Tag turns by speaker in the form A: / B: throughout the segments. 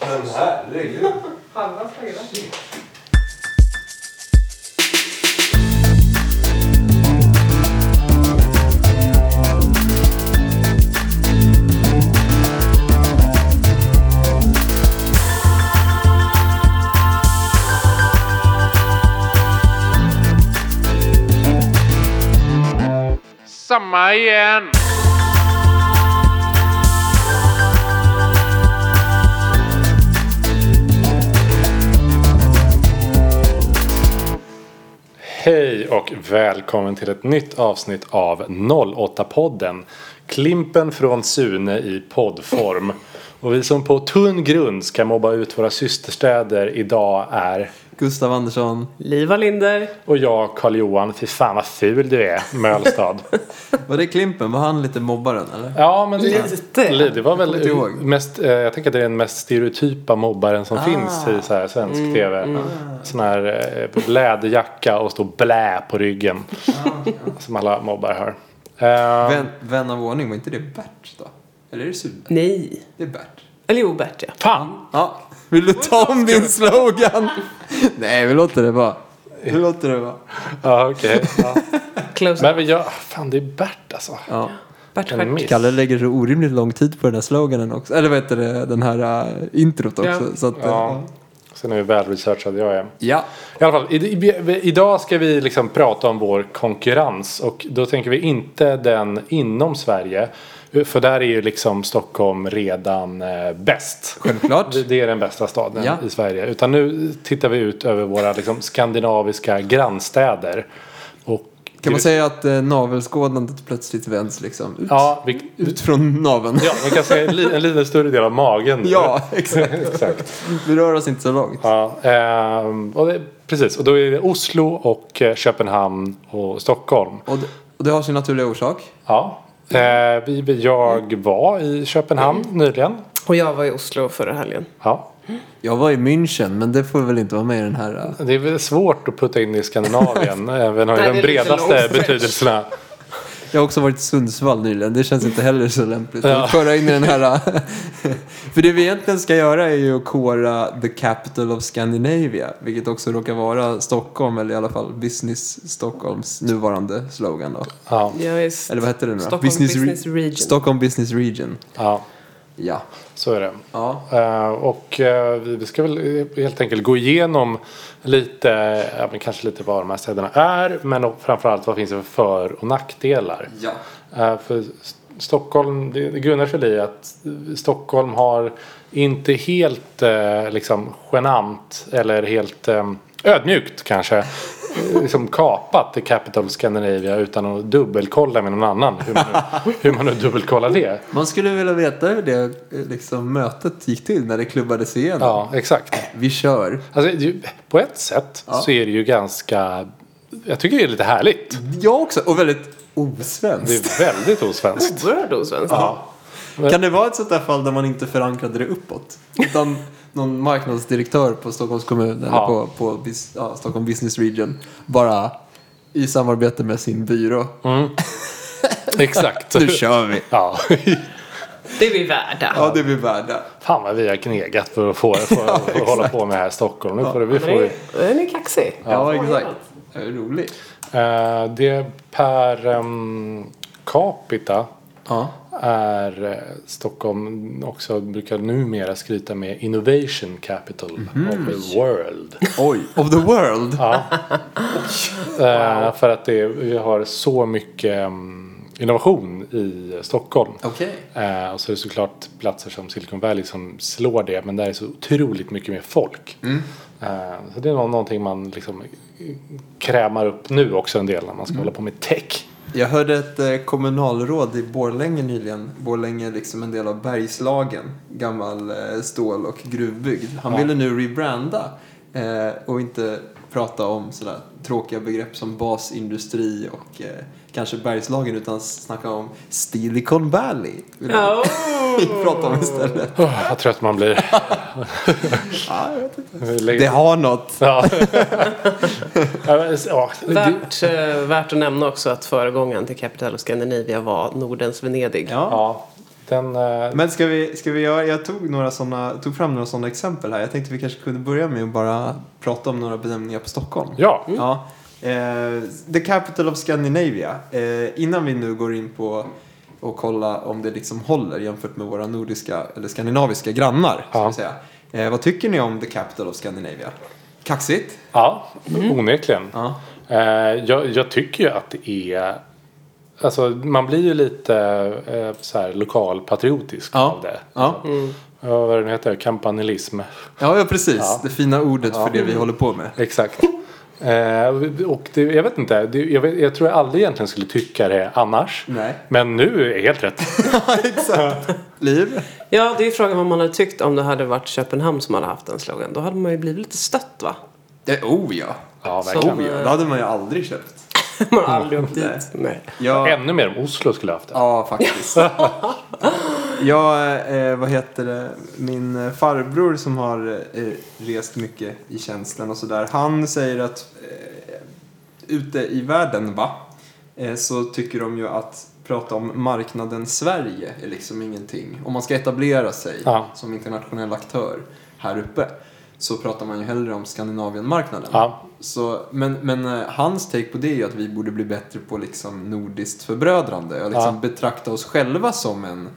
A: men herregud.
B: Halva frågan.
C: Samma igen!
D: Hej och välkommen till ett nytt avsnitt av 08-podden. Klimpen från Sune i poddform. Och vi som på tunn grund ska mobba ut våra systerstäder idag är
E: Gustav Andersson.
B: Liva Linder.
D: och jag, Karl-Johan, fy fan vad ful du är, Mölstad.
E: Var det Klimpen? Var han lite mobbaren eller?
D: Ja, men
B: Lite.
D: Li- Det var väl
E: Jag kommer inte ihåg. Ah.
D: mest, eh, jag tänker att det är den mest stereotypa mobbaren som finns i så här svensk
E: Mm,
D: tv. Sån här eh, läderjacka och stå blä på ryggen.
E: Ah,
D: Som alla mobbar har. Eh,
E: Vän, vän av ordning, var inte det Bert då? Eller är det Sune?
B: Nej.
E: Det är Bert.
B: Eller jo, Bert ja.
D: Fan!
E: Ja. Vill du ta om din slogan? Nej, vi låter det vara. Vi låter det vara.
D: Ja, okej. Ja.
B: Close.
D: Men vi gör... ah, Fan, det är Bert alltså.
E: Ja.
B: Bert
D: En
B: Stjärt.
D: miss.
E: Kalle lägger så orimligt lång tid på den här sloganen också. Eller vad heter det? Den här äh, introt också.
B: Ja.
E: Så att,
D: Ja.
E: ja.
D: Sen är vi välresearchad, jag är.
E: ja.
D: I alla fall, i, i, idag ska vi liksom prata om vår konkurrens och då tänker vi inte den inom Sverige. För där är ju liksom Stockholm redan eh, bäst.
E: Självklart.
D: Det, det är den bästa staden
E: Ja.
D: i Sverige. Utan nu tittar vi ut över våra liksom, skandinaviska grannstäder. Och
E: Kan man säga att äh, navelskådandet plötsligt vänds liksom ut,
D: Ja, vi,
E: ut från naveln?
D: ja, man kan säga en, li, en lite större del av magen.
E: ja, exakt.
D: Exakt.
E: Vi rör oss inte så långt.
D: Ja, ehm, och det, precis. Och då är det Oslo och eh, Köpenhamn och Stockholm.
E: Och, det, och det har sin naturliga orsak.
D: Ja. Eh, vi, vi- jag var i Köpenhamn
B: Mm.
D: nyligen.
B: Och jag var i Oslo förra helgen.
D: Ja.
E: Jag var i München, men det får väl inte vara med i den här... äh,
D: Det är väl svårt att putta in i Skandinavien. även om
B: Nej, det
D: de
B: är lite
D: bredaste
B: långt.
D: betydelserna.
E: Jag har också varit i Sundsvall nyligen, det känns inte heller så lämpligt.
D: Ja.
E: Att föra in i den här... äh, För det vi egentligen ska göra är ju att kora the capital of Scandinavia, vilket också råkar vara Stockholm, eller i alla fall Business Stockholms nuvarande slogan då.
D: Ja,
B: Jag är
E: Eller vad heter det nu då?
B: Stockholm
E: Re-
B: Business Region.
E: Stockholm Business Region.
D: ja,
E: Ja.
D: så är det.
E: Ja.
D: Eh, och eh, vi vi ska väl eh, helt enkelt gå igenom lite, ja, men kanske lite vad de här städerna är. Men och framförallt vad finns det för för och nackdelar.
E: Ja.
D: Eh, För S- Stockholm, det det grundar sig i att eh, Stockholm har inte helt eh, liksom genant eller helt eh, ödmjukt kanske eh, liksom kapat The Capital Scandinavia utan att dubbelkolla med någon annan hur man nu, hur man nu dubbelkollar det.
E: Man skulle vilja veta hur det eh, liksom, mötet gick till när det klubbades igenom.
D: Ja, exakt.
E: Vi kör.
D: Alltså, det är ju- på ett sätt
E: Ja.
D: så är det ju ganska jag tycker det är lite härligt.
E: Jag också, och väldigt osvenskt.
D: Det är väldigt osvenskt.
B: oerhört osvensk.
D: Ja.
E: Kan det vara ett sånt där fall där man inte förankrade det uppåt? Utan någon marknadsdirektör på Stockholms kommun eller
D: Ja.
E: på, på bis, ja, Stockholm Business Region bara i samarbete med sin byrå.
D: Exakt.
E: Nu kör vi!
D: Ja.
B: Det är vi värda.
E: Ja, det är vi värda.
D: Fan vad vi har knegat för att få, för, för att hålla på med det här i Stockholm. Nu får det, vi
B: Den
D: får,
B: är, den är kaxig.
E: Ja, exakt. Det är roligt.
D: Eh, det per ehm, capita
E: Ja.
D: är eh, Stockholm också brukar numera skryta med innovation capital
E: Mhm.
D: of the world.
E: Oj, of the world!
D: Ja. Eh, för att det, vi har så mycket ehm, innovation i Stockholm.
E: Okej.
D: Eh, och så är det såklart platser som Silicon Valley som slår det. Men där är så otroligt mycket mer folk.
E: Mm.
D: Eh, så det är nå- någonting man liksom krämar upp nu också en del när man ska
E: Mm.
D: hålla på med tech.
E: Jag hörde ett eh, kommunalråd i Borlänge nyligen. Borlänge är liksom en del av Bergslagen, gammal eh, stål och gruvbygd. Han ville nu rebranda eh, och inte prata om sådär tråkiga begrepp som basindustri och eh, kanske Bergslagen utan snacka om Silicon Valley. Vill han
B: Ja.
E: prata om istället.
D: Oh, vad trött man blir.
E: Det har något.
D: Ja. Ja, men, ja, det-
B: Värt, eh, värt att nämna också att föregångaren till Capital of Scandinavia var Nordens Venedig.
E: Ja.
D: Ja, Den, eh,
E: Men ska vi, ska vi göra, jag tog, några såna, tog fram några sådana exempel här. Jag tänkte vi kanske kunde börja med att bara prata om några benämningar på Stockholm.
D: ja,
E: Ja. Eh, the capital of Scandinavia. Eh, innan vi nu går in på och kolla om det liksom håller jämfört med våra nordiska eller skandinaviska grannar. Ska
D: Ja.
E: vi säga. Eh, vad tycker ni om the capital of Scandinavia? Kaxigt?
D: ja onekligen.
E: Mm. Ja.
D: Eh, jag, jag tycker ju att det är... Alltså man blir ju lite eh, så här lokalpatriotisk
E: Ja.
D: av det.
E: Ja,
D: Mm. Ja, vad är det nu heter? Kampanilism.
E: ja, ja precis.
D: Ja.
E: Det fina ordet för det vi håller på med.
D: Exakt. Eh, och det, jag vet inte. Det, jag, vet, jag tror jag aldrig egentligen skulle tycka det annars.
E: Nej.
D: Men nu är det helt rätt.
E: Ja, Exakt. Liv?
B: Ja, det är ju frågan vad man hade tyckt om det hade varit Köpenhamn som hade haft den slogan. Då hade man ju blivit lite stött va?
E: Eh, oh ja.
D: Ja,
B: Så-
D: verkligen.
E: Oh ja, det hade man ju aldrig köpt.
B: Man har aldrig åkt
E: Mm.
B: dit. Nej.
E: Jag,
D: Ännu mer om Oslo skulle jag haft det.
E: ja, faktiskt. Jag, eh, vad heter det, min eh, farbror som har eh, rest mycket i tjänsten och sådär. Han säger att eh, ute i världen va, eh, så tycker de ju att prata om marknaden Sverige är liksom ingenting. Om man ska etablera sig
D: Ja.
E: som internationell aktör här uppe så pratar man ju hellre om Skandinavienmarknaden.
D: Ja.
E: Så, men, men eh, hans take på det är ju att vi borde bli bättre på liksom nordiskt förbrödrande och liksom betrakta oss själva som en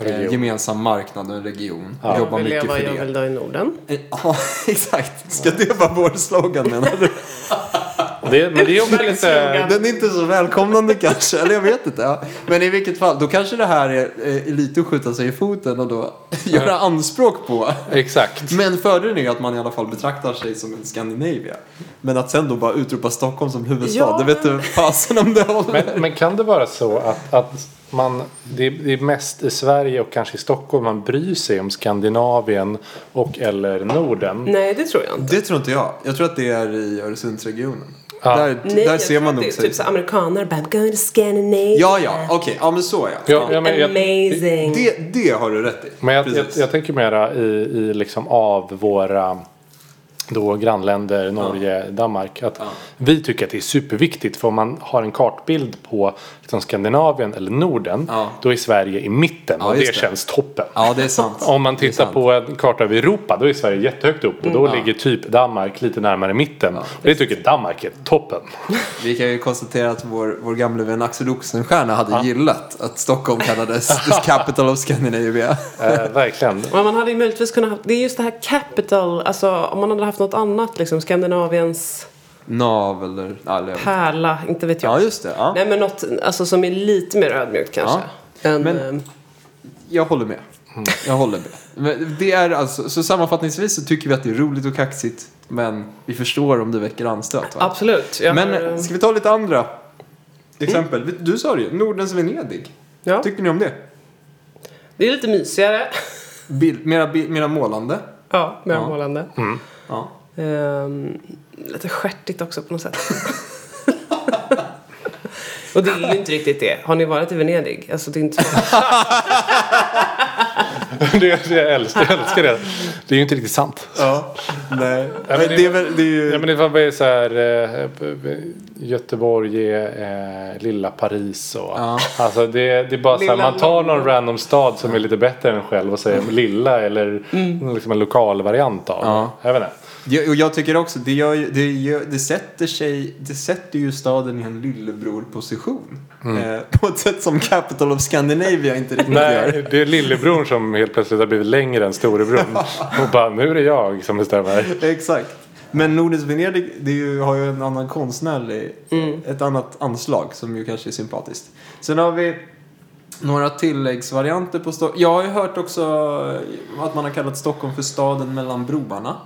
E: eh,
D: Region.
E: gemensam marknad och en region. Och
B: Jag
E: jobba
B: vill
E: mycket
B: leva,
E: för
B: jag
E: det.
B: vill dö i Norden.
E: Eh, Ja, exakt. Ska det vara vår slogan menar du?
D: Det, men det är också lite...
E: Den är inte så välkomnande kanske, eller jag vet inte. Ja. Men i vilket fall, då kanske det här är, är lite att skjuta sig i foten och då göra anspråk på.
D: Exakt.
E: Men fördelen är ju att man i alla fall betraktar sig som en Scandinavia. Men att sen då bara utropa Stockholm som huvudstad,
B: Ja,
E: det vet du fasen om det håller.
D: Men, men kan det vara så att, att man, det, är, det är mest i Sverige och kanske i Stockholm man bryr sig om Skandinavien och eller Norden?
B: Nej, det tror jag inte.
E: Det tror inte jag. Jag tror att det är i Öresundsregionen.
D: Ja.
E: Där,
B: Nej,
E: där
B: jag
E: ser
B: tror
E: man
B: att
E: nog
B: det är
E: sig.
B: typ så amerikaner bara, I'm going to Scandinavia.
E: Ja, ja, okej. Ja, men så ja.
D: Ja, ja, men jag-
B: Amazing.
E: Det, det har du rätt i.
D: Men jag, jag,
E: Precis.
D: jag tänker mera i, i liksom av våra då grannländer, Norge, Danmark. Att Vi tycker att det är superviktigt för om man har en kartbild på liksom Skandinavien eller Norden
E: Ja.
D: då är Sverige i mitten
E: Ja,
D: och det,
E: just det.
D: känns toppen.
E: Ja, det är sant.
D: Om man
E: Det är
D: tittar
E: sant. Mm.
D: på en karta över Europa då är Sverige jättehögt upp och då ligger typ Danmark lite närmare mitten. och det tycker Danmark är toppen.
E: Vi kan ju konstatera att vår, vår gamle vän Axel Oxenstierna hade gillat att Stockholm kallades the capital of Scandinavia.
D: eh, verkligen.
B: Men man hade ju möjligtvis kunnat haft, det är just det här capital, alltså om man hade haft något annat liksom, Skandinaviens
E: Nav eller... ja, eller-
B: pärla, inte vet jag.
E: Ja, just det. Ja.
B: Nej men något alltså, som är lite mer ödmjukt kanske. Än,
E: Men-
B: ehm,
E: Jag håller med.
D: Mm.
E: Jag håller med. Men det är alltså, så sammanfattningsvis så tycker vi att det är roligt och kaxigt men vi förstår om det väcker anstöt. Va?
B: absolut. Jag har,
E: Men
B: ehm,
E: ska vi ta lite andra exempel? Du sa det ju, Nordens Venedig.
B: Mm. ja,
E: Tyckte ni om det?
B: det är lite mysigare.
E: Bild, mera, bi- mera målande.
B: ja, mer målande.
E: Mm. Ja.
B: Ehm, lite stjärtigt också på något sätt. Och det är ju inte riktigt det. Har ni varit i Venedig? Alltså det är inte
D: det, det, jag, älskar, jag älskar det. Det är ju inte riktigt sant.
E: ja. Nej. Men
D: men det-
E: det är väl, det är ju...
D: Ja, men det var så här, eh, Göteborg är eh, lilla Paris och alltså det, det är bara så här,
B: Lilla
D: man tar någon random stad som är lite bättre än själv och säger lilla eller
B: Mm.
D: liksom en lokal variant av.
E: Ja.
D: Jag vet inte.
E: Ja, och jag tycker också, det, gör, ju- det, gör, det, sätter sig, det sätter ju staden i en lillebror-position. Eh, på ett sätt som Capital of Scandinavia inte riktigt gör.
D: Mm. Nej, det är lillebror som helt plötsligt har blivit längre än storebror och bara nu är det jag som bestämmer.
E: Exakt. Men Nordens Venedig det är ju, har ju en annan konstnärlig, ett annat anslag som ju kanske är sympatiskt. Sen har vi några tilläggsvarianter på Stockholm. Jag har ju hört också eh, att man har kallat Stockholm för staden mellan broarna.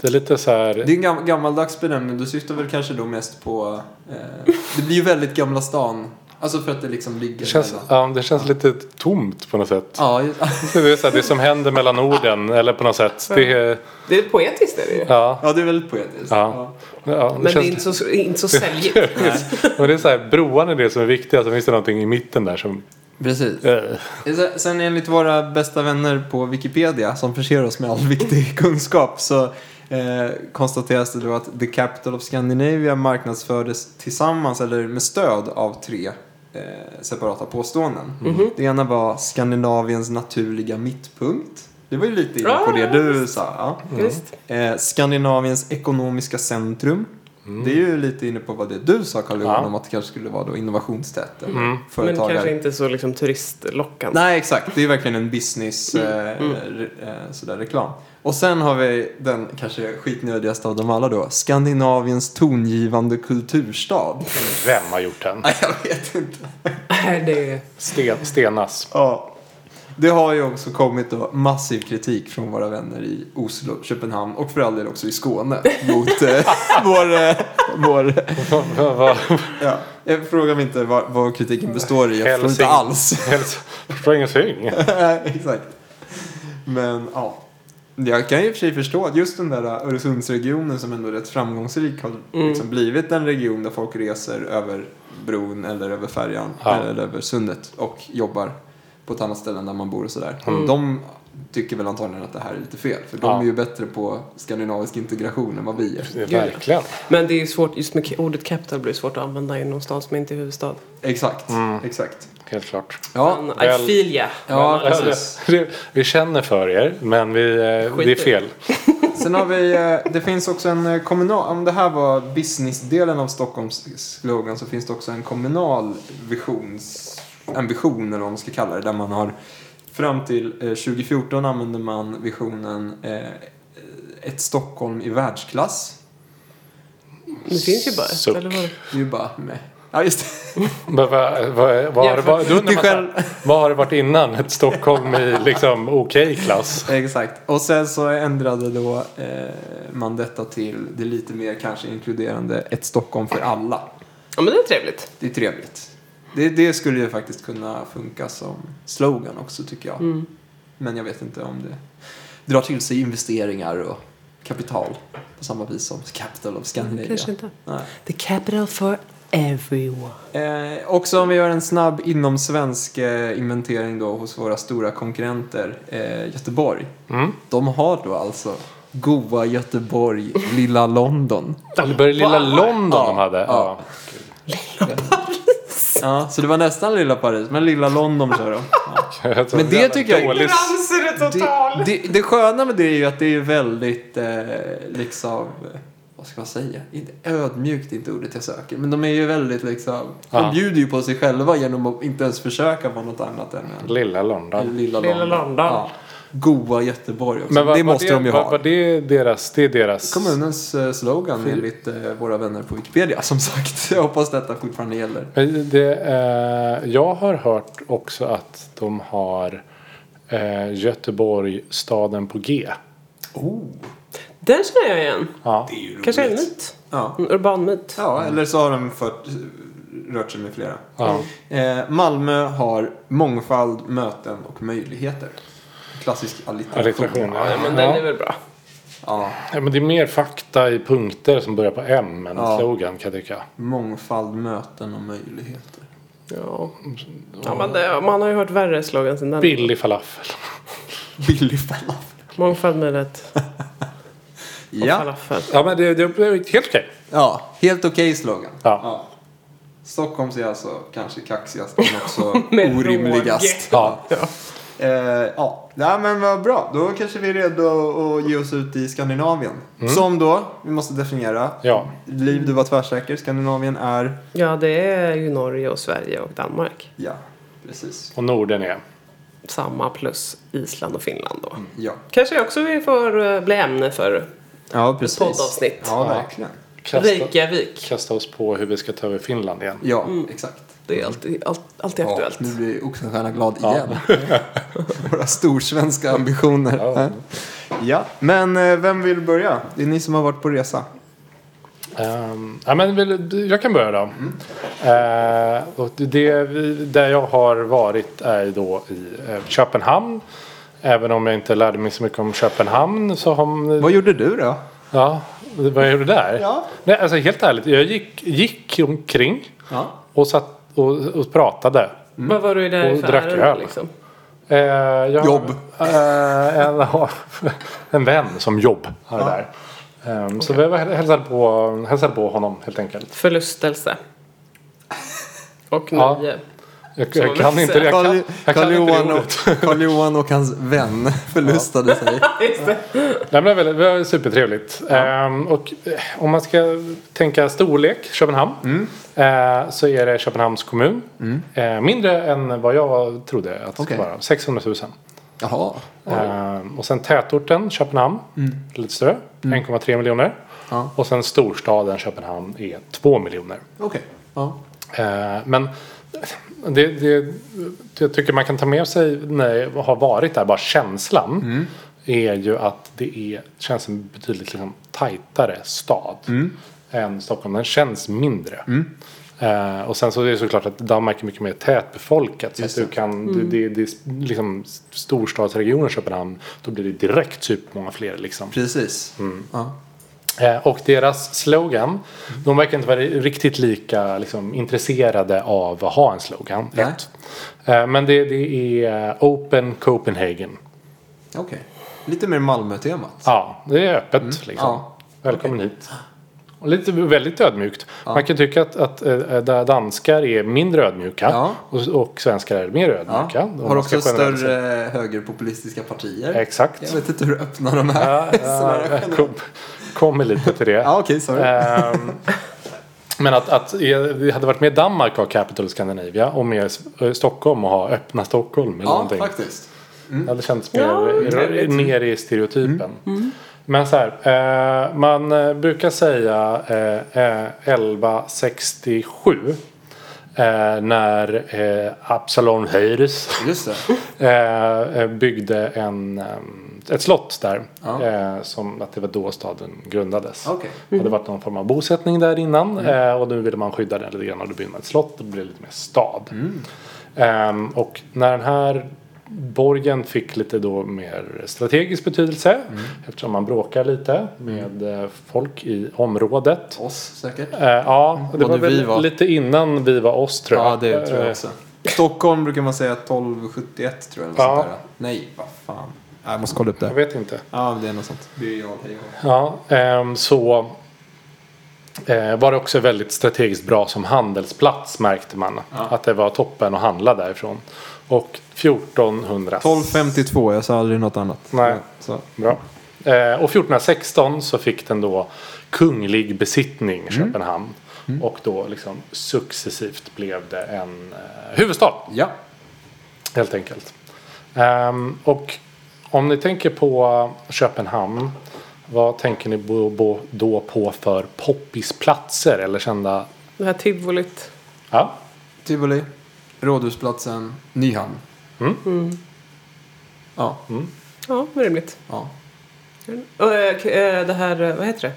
D: Det är lite så här.
E: Det är en gam- gammaldags benämning. Du syftar väl kanske då mest på... Eh, det blir ju väldigt Gamla stan. Alltså för att det liksom ligger...
D: Det känns,
E: mellan-
D: ja, det känns lite tomt på något sätt.
E: Ja, ju-
D: Det, är så här, det som händer mellan orden eller på något sätt. Det, är-
B: Det är poetiskt är det ju.
D: ja,
E: ja, det är väldigt poetiskt.
D: ja. Ja,
B: Men det
D: känns-
B: är inte så, inte så säljigt.
D: Och det är så här, broan är det som är viktigast. Sen finns det någonting i mitten där som...
E: Precis.
D: eh,
E: Sen- Sen enligt våra bästa vänner på Wikipedia som förser oss med all viktig kunskap så eh, konstateras det då att The Capital of Scandinavia marknadsfördes tillsammans eller med stöd av tre eh, separata påståenden. Det ena var Skandinaviens naturliga mittpunkt. Det var ju lite inne på det du sa. Ja.
B: Visst.
E: Eh, Skandinaviens ekonomiska centrum. Det är ju lite inne på vad det du sa Carl Johan
D: Ja.
E: om att det kanske skulle vara då innovationstätt eller
B: Men
E: företagare.
B: kanske inte så liksom turistlockande.
E: Nej, exakt. Det är verkligen en business eh, re, eh, sådär, reklam. Och sen har vi den kanske skitnödigaste av dem alla då. Skandinaviens tongivande kulturstad.
D: Vem har gjort den?
E: Nej, jag vet inte.
B: Nej, det är...
D: Sten, Stenas.
E: Ja. Det har ju också kommit då massiv kritik från våra vänner i Oslo, Köpenhamn och för all del också i Skåne mot eh, vår, eh, vår...
D: Vad- vad- vad-
E: Ja. Jag frågar mig inte vad, vad kritiken består i. Jag förstår inte
D: Helsing-
E: alls.
D: Hels- Förstår ingenting.
E: Nej, Exakt. Men ja. Jag kan ju i och för sig förstå att just den där Öresundsregionen som ändå är rätt framgångsrik har
D: Mm.
E: liksom blivit en region där folk reser över bron eller över färjan
D: Ja.
E: eller över sundet och jobbar på ett annat ställe än där man bor och sådär. De tycker väl antagligen att det här är lite fel för de
D: Mm. Ja.
E: är ju bättre på skandinavisk integration än vad vi är.
D: Verkligen.
B: Men det är ju svårt, just med ordet capital blir det svårt att använda i någon stad som inte är huvudstad.
E: Exakt,
D: Mm.
E: exakt.
D: Helt klart.
E: Ja,
B: Men I
D: väl-
B: feel ya. alltså,
E: ja
D: Ja,
E: precis.
D: det- Vi känner för er, men vi, eh,
B: Skit
D: det
B: i.
D: är fel.
E: Sen har vi, eh, det finns också en eh, kommunal, om det här var businessdelen av Stockholms slogan så finns det också en kommunal visions, ambition eller vad man ska kalla det, där man har fram till eh, 2014 använder man visionen eh, ett Stockholm i världsklass.
B: Det finns ju bara ett,
D: Suck.
B: eller vad?
E: Det är ju bara, nej. Ja, just det.
D: Vad vad- vad- vad har det varit- då undrar man så
E: Jämfört
D: här, vad har det varit innan? Ett Stockholm i liksom okej klass.
E: Exakt. Och sen så ändrade då eh, man detta till det lite mer kanske inkluderande ett Stockholm för alla.
B: Ja, men det är trevligt.
E: Det är trevligt. Det, det skulle ju faktiskt kunna funka som slogan också tycker jag.
B: Mm.
E: Men jag vet inte om det drar till sig investeringar och kapital på samma vis som Capital of Scandinavia.
B: Kanske inte.
E: Nej.
B: The capital for everyone.
E: Eh, också om vi gör en snabb inomsvensk eh, inventering då hos våra stora konkurrenter eh, Göteborg. De har då alltså Goa Göteborg, Lilla London.
D: Det var det lilla London de hade.
E: Ja.
D: Ja.
E: Ja, så det var nästan Lilla Paris, men Lilla London kör de. Ja. Men det tycker jag-
D: Dålig...
B: Danser det
E: det, det, det sköna med det är ju att det är väldigt eh, liksom eh, vad ska man säga? Inte, ödmjukt är inte ordet jag söker. Men de är ju väldigt liksom. De
D: Ja.
E: bjuder ju på sig själva genom att inte ens försöka vara något annat än en
D: Lilla
E: en
D: London.
E: lilla
B: Lilla
E: London.
B: London.
E: Ja. Goa Göteborg också.
D: Men vad,
E: det måste
D: vad
E: de ju
D: vad,
E: ha.
D: Vad det, deras, det är deras...
E: Kommunens eh, slogan enligt eh, våra vänner på Wikipedia som sagt. Jag hoppas detta fortfarande gäller.
D: Men det, eh, jag har hört också att de har eh, Göteborg, staden på G.
E: Oh.
B: Den känner jag igen.
D: Ja.
B: Kanske en myt.
E: Ja.
B: En urban myt.
E: Ja, eller så har de fört, rört sig med flera.
D: Mm. Ja.
E: Eh, Malmö har mångfald, möten och möjligheter. Klassisk allitteration.
D: Alliteration. Ja,
B: Men den är väl bra.
E: Ja,
D: Ja, men det är mer fakta i punkter som börjar på M än
E: Ja.
D: slogan kan jag tycka.
E: mångfald, möten och möjligheter.
B: Ja. ja men det, man har ju hört värre slogan sen den.
D: Billig falafel.
E: Billig falafel.
B: Mångfald, möjlighet och
E: Ja.
B: falafel.
D: Ja, men det, det är helt okej.
E: ja, helt okej slogan.
D: Ja.
E: Stockholms är alltså kanske kaxigast men också
B: Med
E: orimligast.
D: Ja.
E: Eh, ja, Nej, men vad bra. Då kanske vi är redo att ge oss ut i Skandinavien. Som då, vi måste definiera.
D: Mm. Ja.
E: Liv, du var tvärsäker. Skandinavien är...
B: Ja, det är ju Norge och Sverige och Danmark.
E: Ja, precis.
D: Och Norden är.
B: Samma plus Island och Finland då.
D: Mm.
E: Ja,
B: Kanske också vi får eh, bli ämne för
E: ja precis.
B: poddavsnitt.
E: Ja, verkligen.
D: Kasta,
B: Reykjavik.
D: kasta oss på hur vi ska ta över Finland igen.
E: Ja, exakt.
D: Mm.
B: Det är alltid, all, alltid Mm. aktuellt.
E: Ja, nu blir Oxenstierna glad igen. Våra storsvenska ambitioner.
D: Ja.
E: Ja, men eh, vem vill börja? Det är ni som har varit på resa.
D: Ehm, ja, men väl- jag kan börja då. Eh, och det, vi- där jag har varit är ju då i eh, Köpenhamn. Även om jag inte lärde mig så mycket om Köpenhamn så har
E: Vad gjorde du då?
D: Ja, vad gjorde du där?
E: Ja.
D: Nej, alltså helt ärligt, jag gick, gick omkring
E: Ja.
D: och satt och, och pratade.
B: Vad var du där
D: Och
B: för
D: drack
B: ärende
D: öl.
B: liksom?
D: Eh, jag,
E: Jobb.
D: Eh, en, en vän som jobb har det där. Ehm, Så vi var- hälsade på, hälsade på honom helt enkelt.
B: Förlustelse. och
D: Ja.
B: nio.
D: Jag,
B: Så
D: jag kan
B: vi
D: inte det. Jag kan, jag kan inte det
E: Karl-Johan
D: ordet.
E: och, Karl-Johan och hans vän förlustade sig.
B: Just det.
D: Nej, men det var väldigt- det var supertrevligt. Ehm, och eh, om man ska tänka storlek, Köpenhamn.
E: Mm.
D: eh, så är det Köpenhamns kommun. Eh, mindre än vad jag trodde att det
E: Okej.
D: skulle vara. 600 000.
E: Jaha.
D: Ehm, och sen tätorten Köpenhamn.
E: Mm.
D: Lite större. 1,3 miljoner.
E: Ja.
D: Och sen storstaden Köpenhamn är 2 miljoner.
E: Okej. Ja.
D: Eh, men det, det, jag tycker man kan ta med sig när jag har varit där, bara känslan. Är ju att det är, känns en betydligt liksom, tajtare stad än Stockholm. Den känns mindre. Eh, och sen så är det såklart att Danmark är mycket mer tätbefolkat. Så att du kan, det, det, det är liksom storstadsregioner Köpenhamn. Då blir det direkt supermånga fler liksom.
E: Precis. Ja.
D: Eh, Och deras slogan, de verkar inte vara riktigt lika liksom, intresserade av att ha en slogan.
E: Nej.
D: Ett. Eh, Men det, det är eh, Open Copenhagen.
E: Okej. Lite mer Malmö-temat.
D: Ja, det är öppet liksom.
E: Mm. Ja.
D: Välkommen hit. Och lite, väldigt ödmjukt. Man kan tycka att, att eh, där danskar är mindre ödmjuka
E: Ja.
D: och, och svenskar är mer ödmjuka.
E: Ja.
D: Om
E: Har
D: man ska
E: också
D: generalisera.
E: större högerpopulistiska partier.
D: Exakt.
E: Jag vet inte hur öppna de är.
D: Ja,
E: Sådär
D: ja,
E: generellt.
D: kom, kommer lite till det.
E: ja okej, sorry.
D: Ehm, men att, att det hade varit med Danmark att ha Capital Scandinavia och med S- eh, Stockholm och ha öppna Stockholm eller
E: ja,
D: någonting.
E: faktiskt.
D: Det hade känts mer,
B: Ja,
D: r- mer i stereotypen. Men så här, eh, man eh, brukar säga eh, eh, 1167 eh, när eh, Absalon Høyrus
E: Just det.
D: eh, eh, byggde en, eh, ett slott där.
E: Ja.
D: Eh, som att det var då staden grundades.
E: Okej.
D: Det hade varit någon form av bosättning där innan.
E: Mm.
D: Eh, och nu ville man skydda den lite grann och då byggde man ett slott. Det blev lite mer stad.
E: Mm.
D: Ehm, och när den här borgen fick lite då mer strategisk betydelse.
E: Mm.
D: Eftersom man bråkar lite med eh, folk i området.
E: Oss säkert.
D: Eh, ja, det
E: Både
D: var
E: vi
D: väl
E: var.
D: lite innan vi var oss tror jag.
E: Ja, det tror jag
D: Eh,
E: också. Stockholm brukar man säga 1271 tror jag. eller
D: Ja.
E: sånt där. Nej, vad fan. Nej, Jag måste kolla upp
D: Jag
E: det.
D: vet inte.
E: Ja, det är något sånt. Birger Jarl, hej och-
D: Ja, ehm, så eh, var det också väldigt strategiskt bra som handelsplats märkte man. Att det var toppen att handla därifrån. Och 1400...
E: 1252, jag sa aldrig något annat.
D: Nej.
E: Så.
D: Bra. Eh, och 1416 så fick den då kunglig besittning Köpenhamn. Och då liksom successivt blev det en eh, huvudstad
E: Ja.
D: helt enkelt. Ehm, och om ni tänker på Köpenhamn, vad tänker ni bo, bo, då på för poppisplatser eller kända?
B: Det här tivolit.
D: Ja,
E: Tivoli, Rådhusplatsen, Nyhamn.
D: Mm.
E: Ja,
B: Ja, vad rimligt.
E: ja.
B: Och eh, k- eh, det här, eh, vad heter det?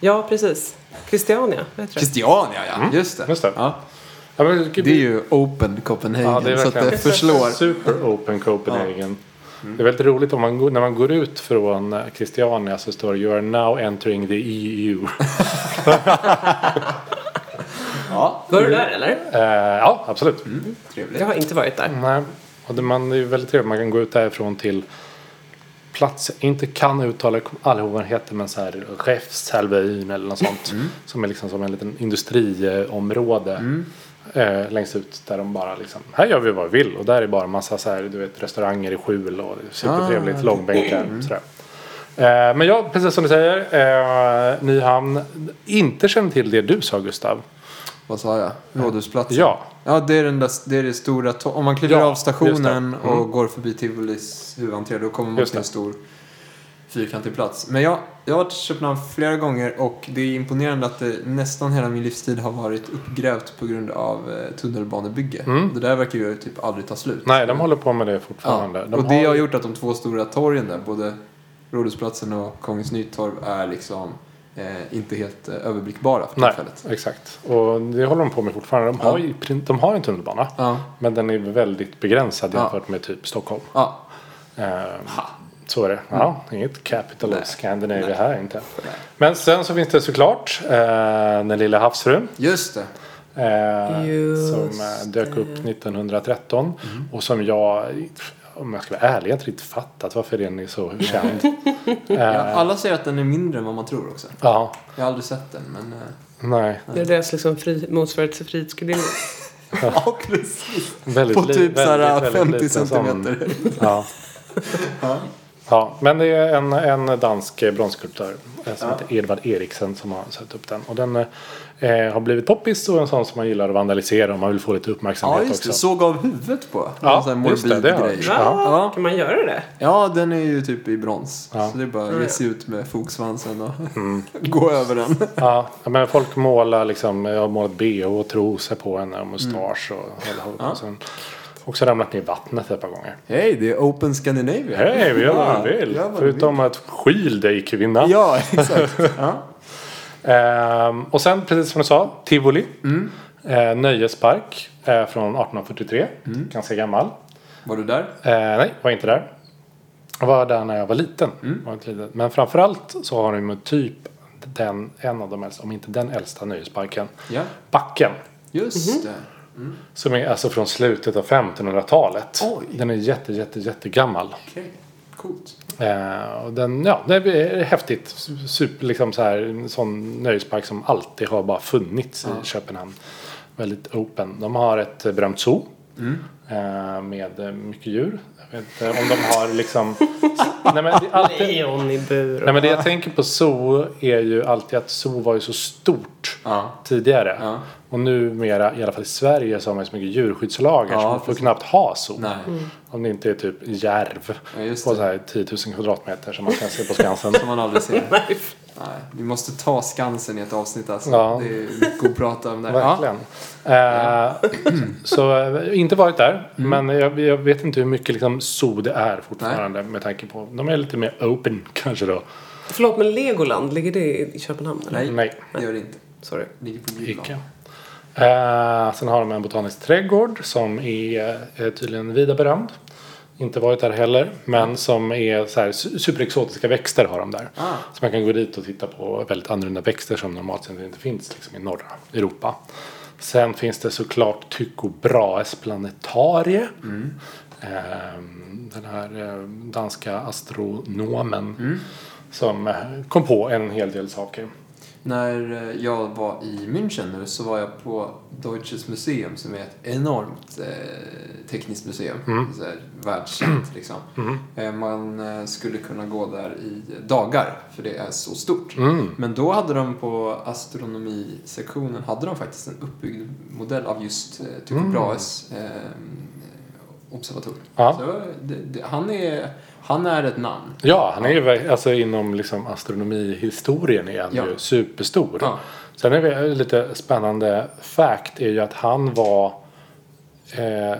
B: Ja, precis. Christiania, vad heter det?
E: Christiania, ja. Just det.
D: Mm. just det.
E: Ja.
D: ja men,
E: Det är ju Open Copenhagen,
D: Ja, det är
E: så att det
D: verkligen-
E: förslår.
D: Super Open Copenhagen. Det är väldigt roligt om man går, när man går ut från eh, Christiania så står det You are now entering the E EU.
E: Ja,
B: Var du där eller?
D: Eh, ja, Mm. absolut.
E: trevligt.
B: Jag har inte varit där.
D: Nej, och det, man, det är ju väldigt trevligt. Man kan gå ut därifrån till platser, inte kan uttala, jag kommer aldrig ihåg vad den heter, men så här Refshalvön eller något sånt.
E: Mm.
D: Som är liksom som en liten industriområde. Eh, längst ut där de bara liksom, här gör vi vad vi vill. Och där är bara massa så här, du vet, restauranger i skjul och supertrevligt,
E: Ah,
D: långbänkar. Sådär. Eh, men jag, precis som du säger, eh, Nyhamn, inte känner till det du sa Gustav.
E: Vad sa jag? Rådhusplatsen?
D: Ja.
E: Ja, det är, den där, det är det stora... to- Om man kliver
D: Ja,
E: av stationen
D: just det. Mm.
E: och går förbi Tivolis huvudentré då kommer man
D: Just
E: till en
D: det.
E: stor fyrkantig plats. Men jag, jag har varit i Köpenhamn flera gånger och det är imponerande att det nästan hela min livstid har varit uppgrävt på grund av eh, tunnelbanebygge. Det där verkar ju typ aldrig ta slut.
D: Mm. Nej, de håller på med det
E: Ja,
D: fortfarande. De
E: och det
D: har-
E: har gjort att de två stora torgen där, både Rådhusplatsen och Kongens Nytorv, är liksom eh, inte helt eh, överblickbara för
D: Nej,
E: tillfället.
D: exakt. Och det håller de på med fortfarande. De har,
E: Ja.
D: ju i prin- de har en tunnelbana.
E: Ja.
D: Men den är väldigt begränsad
E: Ja.
D: jämfört med typ Stockholm.
E: Ja,
D: Ehm, så är det. Ja, inget
E: Mm.
D: capital
E: Nej.
D: of Scandinavia
E: Nej.
D: här inte. Men sen så finns det såklart eh, den lilla havsfrun.
E: just det.
D: Eh,
B: Just
D: som eh, dök upp 1913.
E: Mm.
D: Och som jag, om jag ska vara ärlig, jag har inte riktigt fattat varför den är så känd.
E: Ja,
D: Eh.
E: alla säger att den är mindre än vad man tror också.
D: ja,
E: Jag har aldrig sett den, men... eh,
D: nej.
B: Det är deras liksom fri, motsvarighet till Frihetsgudinnan.
E: ja, precis.
D: Väldigt
E: På
D: li-
E: typ så här
D: väldigt, väldigt
E: 50
D: liten sån.
E: centimeter.
D: Ja.
E: Ja.
D: ja, men det är en, en dansk eh, bronsskulptör eh, som heter Edvard Eriksen som har satt upp den. Och den eh, har blivit poppis och en sån som man gillar att vandalisera om man vill få lite uppmärksamhet
E: Ja, just det.
D: också.
E: Såg av huvudet på.
D: Ja,
E: En sån här morbid
D: just det, det har jag
E: grej.
D: gjort.
B: Va?
E: Ja.
B: Kan man göra det?
E: Ja, den är ju typ i brons.
D: Ja. Mm.
E: Så det är bara att ge sig ut med fogsvansen och gå över den.
D: Ja, men folk målar liksom, jag har målat bh och trosor på henne
E: Mm.
D: och mustasch och hela hållet. Och sen också ramlat ner i vattnet ett par gånger.
E: Hej, det är Open Scandinavia.
D: Hej, vi gör vad vi
E: Ja,
D: vill.
E: gör vad du
D: Förutom att skyl dig kvinna.
E: Ja, exakt. Ja.
D: Ehm, och sen, precis som du sa, Tivoli. Eh, nöjespark eh, från 1843. Ganska gammal.
E: Var du där?
D: Eh, nej, var inte där. Jag var där när jag var liten. Var inte liten. Men framförallt så har de ju typ den, en av de äldsta, om inte den äldsta nöjesparken.
E: Ja,
D: Backen.
E: just det.
D: Som är alltså från slutet av 1500-talet.
E: Oj.
D: Den är jätte, jätte, jättegammal.
E: Okej, coolt.
D: Eh, och den, ja, det är häftigt. Su- Super, liksom så här, en sån nöjespark som alltid har bara funnits i Köpenhamn. Väldigt open. De har ett eh, berömt zoo.
E: Mm.
D: Eh, med eh, mycket djur. Jag vet inte om de har liksom... nej, men det är alltid,
B: Leon i bur.
D: nej men det jag tänker på zoo är ju alltid att zoo var ju så stort
E: Ja.
D: tidigare.
E: Ja.
D: Och numera, i alla fall i Sverige, så har man ju så mycket djurskyddslagar
E: Ja,
D: så man får
E: precis.
D: knappt ha zoo.
E: Nej.
D: Mm. Om det inte är typ järv
E: Ja,
D: på
E: just
D: så
E: det.
D: här 10 000 kvadratmeter som man kan se på Skansen.
E: Som man aldrig ser. Nej, vi måste ta Skansen i ett avsnitt alltså.
D: Ja.
E: Det är mycket att prata om där.
D: Verkligen. Eh, så eh, inte varit där.
E: Mm.
D: Men jag, jag vet inte hur mycket liksom, zoo det är fortfarande med tanke på. De är lite mer open kanske då.
B: Förlåt, men Legoland, ligger det i Köpenhamn? Eller?
E: Nej,
D: Nej.
E: det gör det inte.
B: Sorry.
E: Ligger på
D: Icke.
E: Gyllan.
D: Eh, sen har de en botanisk trädgård som är eh, tydligen vida berömd. Inte varit där heller, men som är så här, su- superexotiska växter har de där.
E: Ah.
D: Så man kan gå dit och titta på väldigt annorlunda växter som normalt sett inte finns liksom, i norra Europa. Sen finns det såklart Tycho Brahes planetarie. Ehm, den här eh, danska astronomen som eh, kom på en hel del saker.
E: När eh, jag var i München nu så var jag på Deutsches Museum som är ett enormt eh, tekniskt museum.
D: Mm.
E: Så här, världskänt liksom. Eh, man eh, skulle kunna gå där i dagar för det är så stort.
D: Mm.
E: Men då hade de på astronomisektionen hade de faktiskt en uppbyggd modell av just eh, Tycho
D: Mm.
E: Brahes eh, observatorium.
D: Ja.
E: Så det, det, han, är, han är ett namn.
D: Ja, han är ju verk- alltså inom liksom astronomihistorien är han
E: Ja.
D: ju superstor.
E: Ja.
D: Sen är det lite spännande fact är ju att han var eh,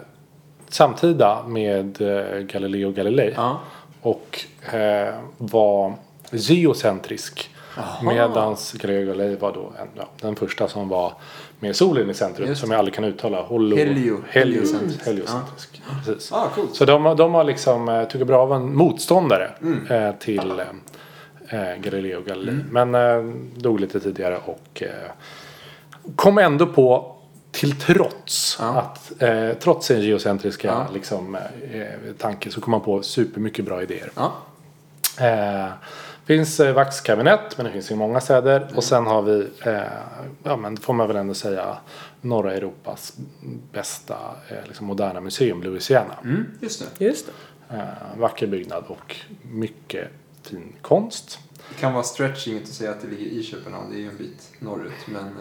D: samtida med eh, Galileo Galilei
E: Ja.
D: och eh, var geocentrisk. Medan Galileo Galilei var då en, ja, den första som var med solen i centrum
E: Just
D: som jag aldrig kan uttala. Holo,
E: Helio- heliocentrisk.
D: heliocentrisk. heliocentrisk. Precis.
E: Ah, coolt.
D: Så de, de har liksom, eh, Tycho Brahe var en motståndare
E: Mm.
D: eh, till eh, eh, Galileo Galilei. Men eh, dog lite tidigare och eh, kom ändå på, till trots
E: Ja.
D: att, eh, trots sin geocentriska
E: Ja.
D: liksom, eh, tanke så kom man på supermycket bra idéer.
E: Ja.
D: Eh, finns eh, vaxkabinett, men det finns i många städer.
E: Mm.
D: Och sen har vi, eh, ja men får man väl ändå säga, norra Europas bästa eh, liksom moderna museum, Louisiana.
E: Mm, just det.
B: Just det.
D: Eh, vacker byggnad och mycket fin konst.
E: Det kan vara stretching att säga att det ligger i Köpenhamn, det är ju en bit norrut. Men eh,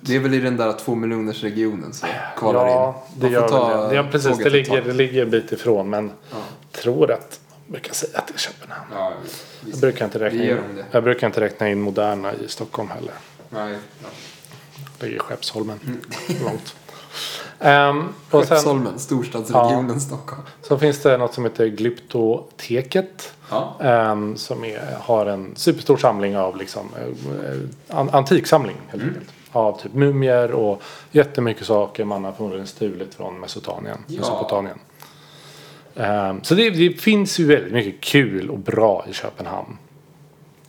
E: det är väl i den där två miljoners regionen som kvalar
D: ja,
E: in.
D: det
E: Man får
D: gör
E: ta
D: väl det. Ja, precis.
E: tåget
D: Det
E: ett
D: ligger,
E: tag.
D: det ligger en bit ifrån, men
E: Ja.
D: tror att man brukar säga att det är Köpenhamn.
E: Ja,
D: Jag
E: visst.
D: brukar, inte räkna
E: Vi gör
D: in,
E: om det.
D: jag brukar inte räkna in moderna i Stockholm heller.
E: Nej, ja.
D: Det är ju Skeppsholmen. Långt. Ehm, och sen,
E: Mm. Skeppsholmen, storstadsregionen Stockholm.
D: Så finns det något som heter Glyptoteket.
E: Ja.
D: ehm, som är, har en superstor samling av liksom, eh, an, antiksamling helt enkelt. Av typ mumier och jättemycket saker man har förmodligen stulit från Mesopotamien.
E: Ja.
D: Mesopotamien. Ehm, så det, det finns ju väldigt mycket kul och bra i Köpenhamn.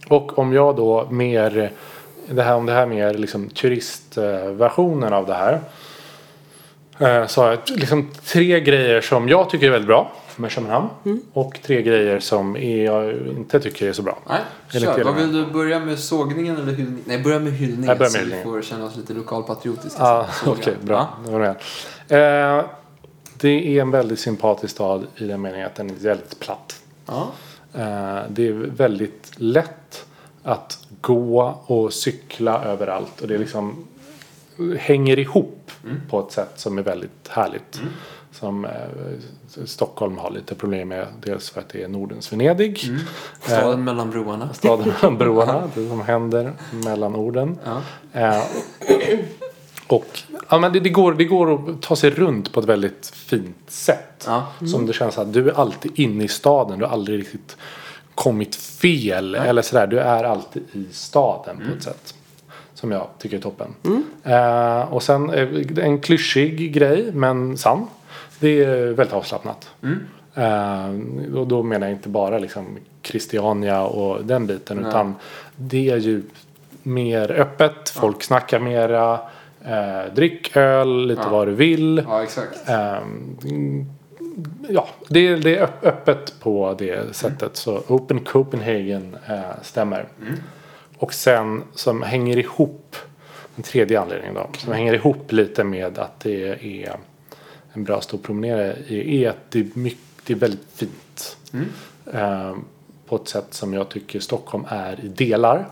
D: Och om jag då mer, det här, om det här mer liksom turistversionen av det här. Eh, Så har jag t- liksom tre grejer som jag tycker är väldigt bra. med Köpenhamn. Och tre grejer som jag inte tycker är så bra.
E: Nej,
D: Eller
E: kör.
D: till
E: Vad
D: och med.
E: vill du börja med? Sågningen eller hyllningen? Nej, börja med hyllningen.
D: Jag börjar med
E: så
D: hyllningen.
E: vi får känna oss lite lokalpatriotiska.
D: Ah,
E: sen.
D: Okej,
E: Såga.
D: bra.
E: Ja.
D: Det, var det. Eh, det är en väldigt sympatisk stad i den meningen att den är väldigt platt.
E: Ja.
D: Eh, det är väldigt lätt att gå och cykla överallt. Och det är liksom hänger ihop på ett sätt som är väldigt härligt. Som eh, Stockholm har lite problem med. Dels för att det är Nordens Venedig.
E: Staden
D: Eh.
E: mellan broarna.
D: Staden mellan broarna. Det som händer mellan orden.
E: Ja.
D: Eh, och ja, men det, det, går, det går att ta sig runt på ett väldigt fint sätt.
E: Ja.
D: Som det känns att du är alltid inne i staden. Du har aldrig riktigt kommit fel. Eller sådär. Du är alltid i staden på ett sätt. Som jag tycker är toppen. Eh, och sen eh, en klyschig grej men sann. Det är väldigt avslappnat. Eh, och då menar jag inte bara liksom Christiania och den biten. Utan det är ju mer öppet. Folk snackar mera. Eh, drick öl, lite vad du vill.
E: ja, exakt.
D: Ehm, ja, det, är- det är öpp- öppet på det sättet. Så Open Copenhagen eh, stämmer. Och sen som hänger ihop, den tredje anledningen då, som hänger ihop lite med att det är en bra stor promenera i, är att det är, mycket, det är väldigt fint. Ehm, på ett sätt som jag tycker Stockholm är i delar.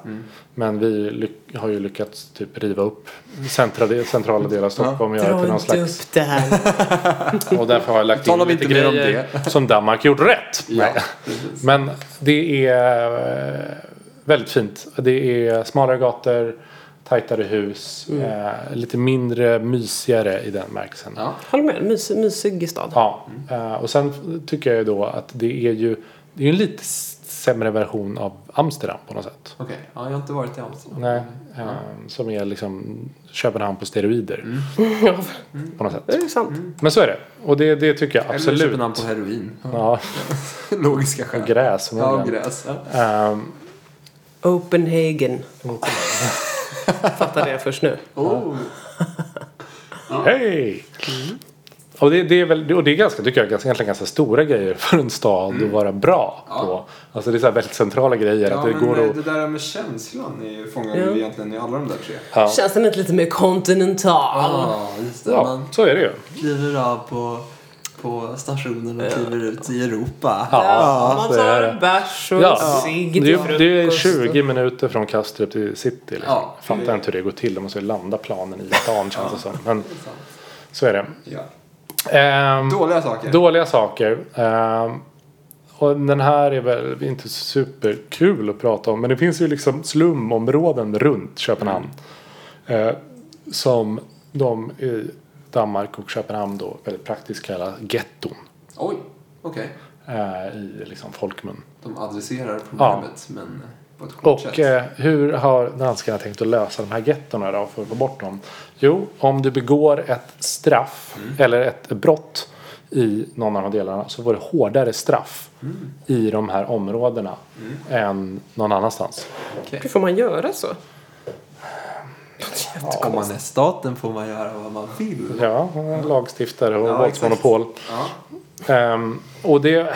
D: Men vi lyck- har ju lyckats typ riva upp centra, centrala delar av Stockholm och göra
B: Dra
D: till någon
B: inte
D: slags
B: upp det här.
D: och därför har jag lagt in
E: Talar vi
D: lite
E: inte mer om
D: grejer som Danmark gjort rätt.
E: Ja,
D: Nej. Men det är eh, väldigt fint. Det är smalare gator, tajtare hus,
E: Mm.
D: eh, lite mindre mysigare i den märkelsen.
E: Ja.
B: Håller med, mys, mysig stad.
D: Ja, eh, och sen tycker jag ju då att det är ju det är ju en lite s- sämre version av Amsterdam på något sätt.
E: Okej, ja, jag har inte varit i Amsterdam.
D: Nej, eh,
E: Mm.
D: som är liksom Köpenhamn på steroider
B: Ja,
D: på något sätt.
B: det är sant.
D: Men så är det. Och det, det tycker jag
E: Mm. Eller
D: absolut.
E: Köpenhamn på heroin.
D: Ja,
E: Logiska skäl.
D: gräs.
E: Ja,
D: förmodligen.
E: och gräs. Ja.
D: Ehm,
B: Openhagen.
D: Mm.
B: Fattade jag först nu.
E: Oh.
D: Hej! Och det, det är väl, och det är ganska, tycker jag, ganska, egentligen ganska stora grejer för en stad att vara bra på. Alltså det är så här väldigt centrala
E: Mm.
D: grejer.
E: Ja,
D: att det
E: men
D: går
E: eh,
D: att,
E: det där med känslan är ju- fångar
B: Ja.
E: du egentligen i alla de där tre.
D: ja.
B: Känns den inte lite mer kontinental?
E: Ja, just det.
D: ja,
E: Man
D: så är det ju.
E: kliver av på, på stationen och kliver ut i Europa.
D: Ja,
B: man
D: så är
B: tar
D: det.
B: en bärs och
D: Ja.
B: en cigg
D: Det,
B: till
D: är- det är
B: frukost.
D: 20 minuter från Kastrup till city. Liksom.
E: Ja.
D: Fattar inte hur det går till. De måste ju landa planen i stan känns det som. Men så är det.
E: Ja.
D: Ehm,
E: Dåliga saker.
D: Dåliga saker. Ehm, och den här är väl inte superkul att prata om. Men det finns ju liksom slumområden runt Köpenhamn. Eh, som de i Danmark och Köpenhamn då väldigt praktiskt kallar getton.
E: Oj, okej.
D: Eh, I liksom folkmun.
E: De adresserar problemet, men på ett kort
D: Och
E: sätt.
D: eh, hur har danskarna tänkt att lösa de här gettorna då för att få bort dem? Jo, om du begår ett straff eller ett brott i någon av de här delarna så får du hårdare straff i de här områdena än någon annanstans.
B: Hur får man göra så?
E: Om man är staten får man göra vad man vill.
D: Ja, lagstiftare och
E: Ja,
D: våldsmonopol.
E: Ja.
D: Ehm, och det,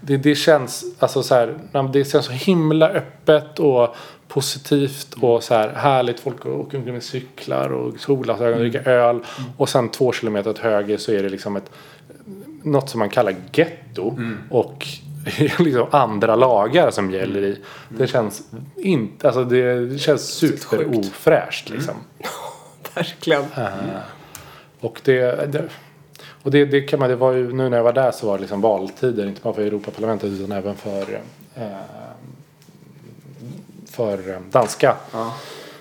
D: det, det känns alltså så här, när det känns så himla öppet och positivt och så här härligt. Folk åker omkring med cyklar och solglasögon och dricker öl. Och sen två kilometer åt höger så är det liksom ett, något som man kallar getto. Och liksom andra lagar som gäller i. Det känns inte, alltså det känns superofräscht liksom.
B: Verkligen.
D: Och det, det, och det, det kan man, det var ju, nu när jag var där så var det liksom valtider, inte bara för Europaparlamentet utan även för, eh, för eh, danska
E: Ja.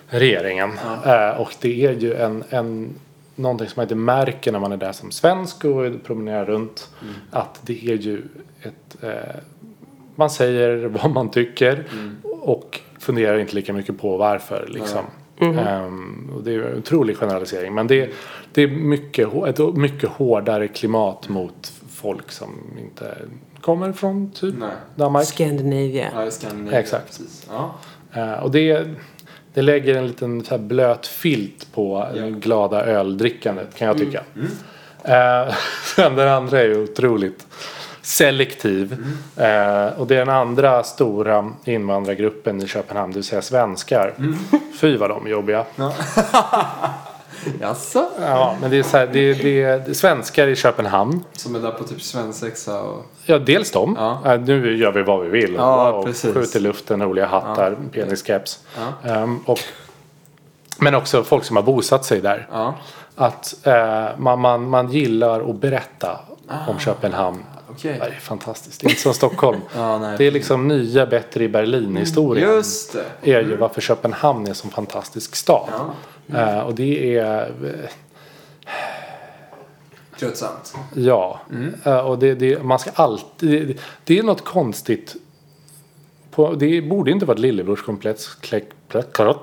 D: regeringen. Eh, och det är ju en, en, någonting som man inte märker när man är där som svensk och promenerar runt.
E: Mm.
D: Att det är ju ett, eh, man säger vad man tycker
E: Mm.
D: och funderar inte lika mycket på varför. Liksom. Ehm, och det är ju en otrolig generalisering. Men det, det är mycket, hå- ett mycket hårdare klimat mot folk som inte kommer från typ
E: Nej.
D: Danmark.
B: Scandinavia.
E: Ja, i Skandinavien.
D: Exakt.
E: Precis. Ja.
D: Eh, och det, det lägger en liten så här blöt filt på
E: Ja.
D: det glada öldrickandet kan jag tycka. Eh, sen den andra är ju otroligt selektiv. Eh, och det är den andra stora invandrargruppen i Köpenhamn, det vill säga svenskar. Fy vad de är jobbiga.
E: Jaså?
D: Ja, men det är, så här, det, det, det är svenskar i Köpenhamn.
E: Som är där på typ svensexa och...
D: Ja, dels de.
E: Ja.
D: Eh, Nu gör vi vad vi vill.
E: Ja,
D: Wow,
E: precis.
D: Skjut i luften, roliga hattar, peniskeps.
E: Ja.
D: Ehm, och, men också folk som har bosatt sig där.
E: Ja.
D: Att eh, man, man, man gillar att berätta om Köpenhamn.
E: Ah. Okej.
D: Det är fantastiskt. Det är inte som Stockholm.
E: Ja, nej.
D: det är liksom nya bättre i Berlin-historien.
E: Just det.
D: är ju varför Köpenhamn är en sån fantastisk stad. Eh, och det är... eh,
E: Tröttsamt.
D: Ja,
E: Mm.
D: Eh, och det, det, man ska alltid... Det, det är något konstigt. På, det borde inte vara ett lillebrorskomplex. Kläck, kläck, kläck,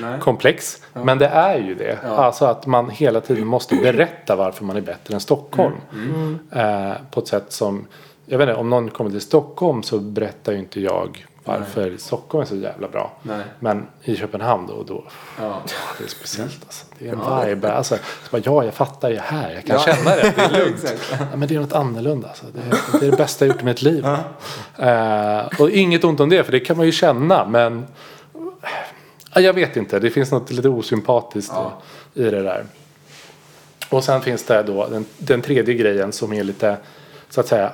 E: Nej.
D: komplex. Men det är ju det. Alltså att man hela tiden måste berätta varför man är bättre än Stockholm.
E: Mm.
D: Eh, på ett sätt som... Jag vet inte, om någon kommer till Stockholm så berättar ju inte jag varför Stockholm är så jävla bra.
E: Nej.
D: Men i Köpenhamn då och då.
E: Ja.
D: Det är
E: Mm.
D: speciellt alltså. Det är en vibe. Alltså, så bara, ja, jag fattar, jag är här. Jag kan känna det. Det är lugnt.
E: Exakt.
D: Ja, men det är något annorlunda. Alltså. Det, är, det är det bästa jag gjort i mitt liv. Eh, och inget ont om det, för det kan man ju känna. Men Ja, jag vet inte, det finns något lite osympatiskt i i det där. Och sen finns det då den, den tredje grejen som är lite, så att säga,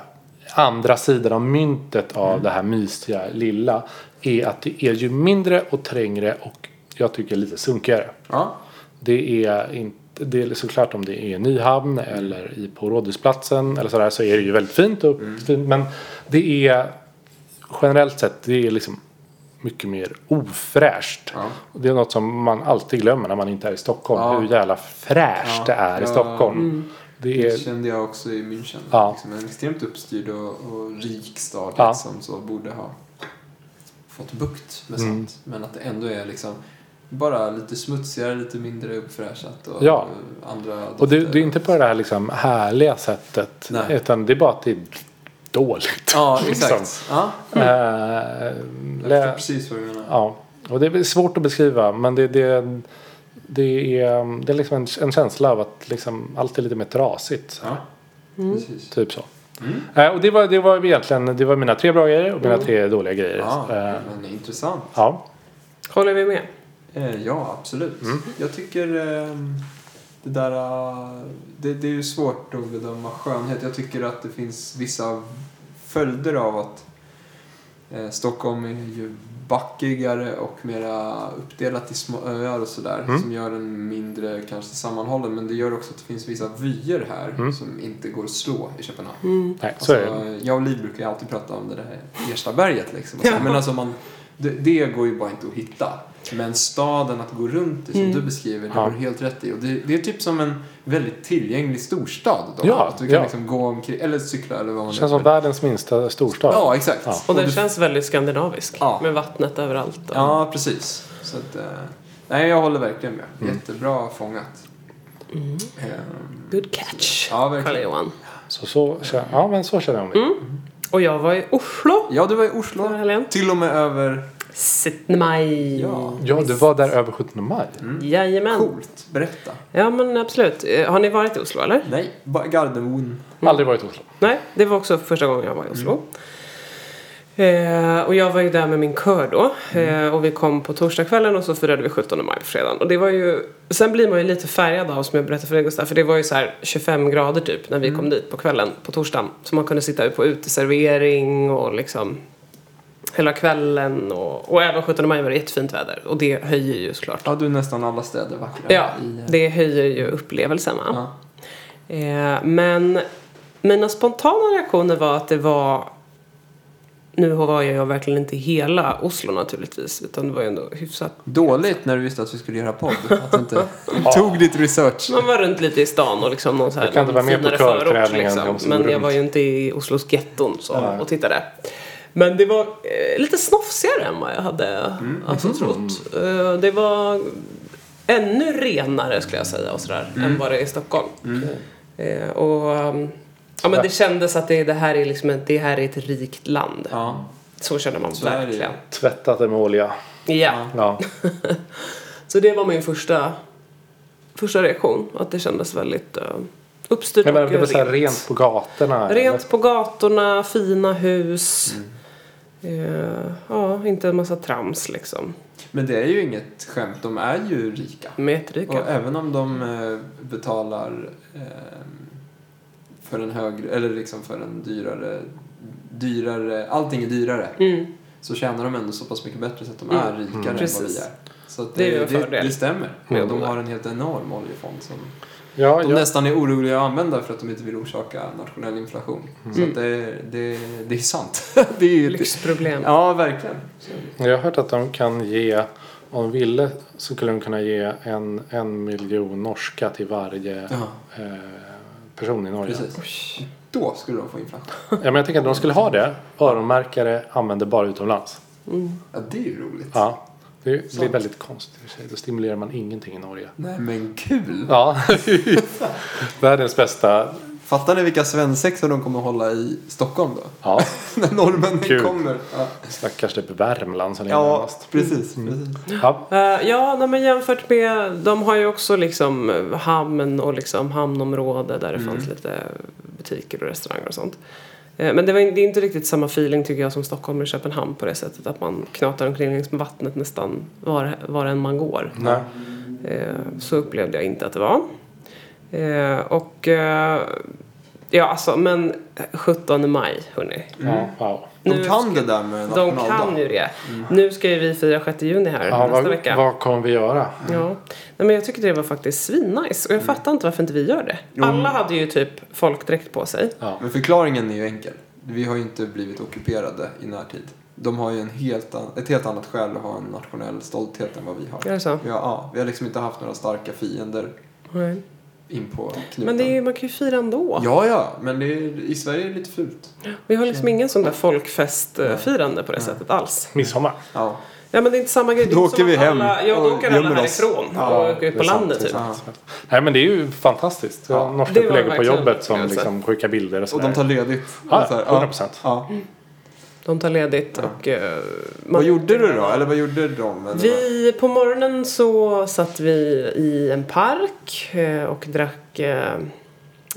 D: andra sidan av myntet av det här mysiga lilla. Är att det är ju mindre och trängre och jag tycker lite sunkigare.
E: Ja.
D: Det är inte det är såklart om det är i Nyhamn
E: Mm.
D: eller i, på Rådhusplatsen eller sådär så är det ju väldigt fint. Och,
E: Mm.
D: fint men det är generellt sett det är liksom mycket mer ofräscht.
E: Ja.
D: Och det är något som man alltid glömmer när man inte är i Stockholm.
E: Ja.
D: Hur jävla fräscht
E: Ja.
D: det är i
E: Ja. Mm.
D: Stockholm. Det är,
E: Det kände jag också i München.
D: Ja.
E: Liksom en extremt uppstyrd och, och rik stad
D: Ja.
E: liksom, så borde ha fått bukt med
D: Mm.
E: sånt. Men att det ändå är liksom bara lite smutsigare, lite mindre uppfräschat och
D: Ja.
E: eh, andra
D: och det,
E: dofter.
D: det är inte på det här liksom härliga sättet.
E: Nej.
D: Utan det är bara att det är dåligt.
E: Ja,
D: liksom.
E: exakt. Ja,
D: Eh,
E: Mm. jag
D: lä-
E: förstår precis vad du menar.
D: Ja, och det är svårt att beskriva men det, det, det är, det är liksom en, en känsla av att liksom allt är lite mer trasigt. så här.
E: Ja,
B: Mm.
E: precis. Mm.
D: Typ så. Eh, och det var, det var egentligen det var mina tre bra grejer och mina tre dåliga grejer.
E: Ja,
D: Eh,
E: men det är intressant.
D: ja.
B: Håller vi med?
E: Eh, Ja, absolut. Jag tycker ehm, det där... eh, Det, det är ju svårt att bedöma skönhet. Jag tycker att det finns vissa följder av att eh, Stockholm är ju backigare och mera uppdelat i små öar och sådär. Som gör den mindre kanske sammanhållen. Men det gör också att det finns vissa vyer här som inte går att slå i Köpenhamn.
D: Nej, så är det.
E: Alltså, jag och Liv brukar ju alltid prata om det där Erstaberget liksom. Och så. Men alltså man, det, det går ju bara inte att hitta. Men staden att gå runt i som du beskriver, det
D: Mm. Ja.
E: har du helt rätt i. Och det, det är typ som en väldigt tillgänglig storstad. Då.
D: Ja,
E: att du kan
D: ja.
E: liksom gå omkring, eller cykla eller vad man
D: Det
E: nu
D: känns som världens minsta storstad.
E: Alltså, Ja, exakt.
D: Ja.
B: Och den
E: du-
B: känns väldigt skandinavisk.
E: Ja.
B: Med vattnet överallt. Och...
E: Ja, precis. Så att, eh, nej, jag håller verkligen med.
D: Mm.
E: Jättebra fångat.
B: Mm.
E: Ehm,
B: Good catch,
E: Ja, verkligen.
B: Karl-Johan.
D: Så, så, kä- ja, men så känner jag om det.
B: Och jag var i Oslo
E: ja, du var i Oslo.
B: förra helgen.
E: Till och med över...
B: 17 maj.
E: Ja,
D: Ja, du var där över 17 maj.
B: Mm. Jajamän.
E: coolt. Berätta.
B: Ja men absolut. Eh, Har ni varit i Oslo eller?
E: Nej, ba- Gardermoen.
D: Mm. Aldrig varit i Oslo.
B: Nej, det var också första gången jag var i Oslo. Eh, och jag var ju där med min kör då. Eh, och vi kom på torsdagskvällen och så firade vi 17 maj på fredagen. Och det var ju, sen blir man ju lite färgad av som jag berättade för dig Gustav. För det var ju så här 25 grader typ när vi kom dit på kvällen på torsdagen. Så man kunde sitta på uteservering och liksom hela kvällen. Och, och även 17 maj var det jättefint väder. Och det höjer ju såklart.
E: Ja, du är nästan alla städer vackra.
B: Ja,
E: i, eh,
B: det höjer ju upplevelsen va.
E: Ja.
B: Eh, men mina spontana reaktioner var att det var... Nu var jag ju verkligen inte hela Oslo naturligtvis, utan det var ju ändå hyfsat...
E: Dåligt när du visste att vi skulle göra podd. Att du inte tog ditt research.
B: Man var runt lite i stan och liksom någon så här
D: Jag kan inte vara med på
B: finare förort, liksom.
D: körträningen, jag som går
B: Men jag
D: runt.
B: var ju inte i Oslos getton så, och tittade. Men det var eh, lite snofsigare än vad jag hade
D: Mm.
B: alltså,
E: Mm-hmm.
B: trott. Eh, det var ännu renare skulle jag säga och sådär,
D: Mm.
B: än vad det är i Stockholm. Eh, och, um, ja, men det kändes att det, det, här är liksom ett, det här är ett rikt land.
E: Ja.
B: Så känner man
E: Så är det ju.
B: verkligen.
D: Tvättat det med olja.
B: Ja.
D: Ja.
B: Så det var min första, första reaktion. Att det kändes väldigt eh, Uppstyrt
D: Jag menar, det var
B: och
D: så här
B: rent.
D: rent på gatorna. eller?
B: Rent på gatorna, fina hus. Eh, ja, inte en massa trams liksom.
E: Men det är ju inget skämt, de är ju rika.
B: Mm, Metrika.
E: Och även om de eh, betalar ehm, för en högre, eller liksom för en dyrare, dyrare, allting är dyrare.
B: Mm.
E: Så tjänar de ändå så pass mycket bättre så att de
B: Mm.
E: är rikare än vad vi
B: Precis.
E: är. Så att
B: Det är
E: det,
B: ju
E: det,
B: en
E: det,
B: fördel.
E: stämmer.
B: Mm.
E: De har en helt enorm oljefond som
D: Ja,
E: de
D: ja.
E: nästan är oroliga att använda för att de inte vill orsaka nationell inflation. Så
D: Mm.
E: att det, det, det är sant. det är ju ett,
B: Lyxproblem.
E: ja, verkligen. Så,
D: Jag har hört att de kan ge, om de ville så skulle de kunna ge en, en miljon norska till varje
E: ja,
D: eh, person i Norge.
E: precis.
B: Oj.
E: Då skulle de få inflation.
D: Ja, men jag tänker att de skulle ha det, öronmärkare använder bara utomlands.
E: Ja, det är ju roligt.
D: Ja, det blir
E: Sant.
D: väldigt konstigt. i och för sig. Då stimulerar man ingenting i Norge.
E: Nej, men kul!
D: Ja, världens bästa.
E: Fattar ni vilka svensexor de kommer hålla i Stockholm då?
D: Ja,
E: När norrmännen
D: Kul.
E: kommer. Ja,
D: stackars typ Värmland som är
E: ja
D: närmast. Mm.
E: precis. precis.
D: Ja,
B: Eh, ja, nej, men jämfört med... De har ju också liksom eh, hamn och liksom hamnområde där det
D: Mm.
B: fanns lite butiker och restauranger och sånt. Eh, Men det, var, in- det är inte riktigt samma feeling tycker jag som Stockholm och Köpenhamn på det sättet att man knatar omkring längs med vattnet nästan var, var än man går.
D: nej.
B: Eh, Så upplevde jag inte att det var. Eh, Och eh, ja alltså men 17 maj hörni.
D: Ja, wow.
E: De
B: Nu
E: kan det där med
B: De
E: nationaldagen.
B: kan ju det. Nu ska ju vi fira 6 juni här
D: Mm. Ja,
B: nästa
D: vad,
B: vecka.
D: vad kommer vi göra?
B: Ja. Nej, men jag tyckte det var faktiskt svinnice och jag
E: Mm.
B: fattar inte varför inte vi gör det. Alla hade ju typ folkdräkt på sig.
D: Ja.
E: Men förklaringen är ju enkel. Vi har ju inte blivit ockuperade i närtid. De har ju en helt an- ett helt annat skäl att ha en nationell stolthet än vad vi har.
B: Är det så?
E: Ja, ja, vi har liksom inte haft några starka fiender
B: Nej.
E: in på knuten.
B: Men det är, ju- man kan ju fira ändå.
E: Ja, ja, men det är, i Sverige är det lite fult.
B: Vi har liksom ingen sån där folkfestfirande på det sättet alls.
D: Midsommar.
E: Ja.
B: Ja men det är inte samma grej. Det är
E: Då
B: inte
E: åker
B: som
E: vi
B: att
E: hem
B: Alla, ja,
E: och
B: då åker alla
E: gömmer oss.
B: härifrån
E: Ja,
B: och åker ut
D: det
B: på
D: är sant,
B: landet
D: det är
B: typ.
E: sant.
D: Nej men det är ju fantastiskt. Jag har
E: Ja,
D: norska
B: det var
D: kollegor på
B: verkligen
D: jobbet som
B: upplevelse.
D: liksom skickar bilder och
E: Och
D: sådär.
E: de tar ledigt.
D: Ja,
E: Och så här,
D: 100%.
E: Ja.
B: De tar ledigt och... eh, man-
E: Vad gjorde du då? Eller vad gjorde de? Eller vad?
B: Vi, på morgonen så satt vi i en park eh, och drack eh,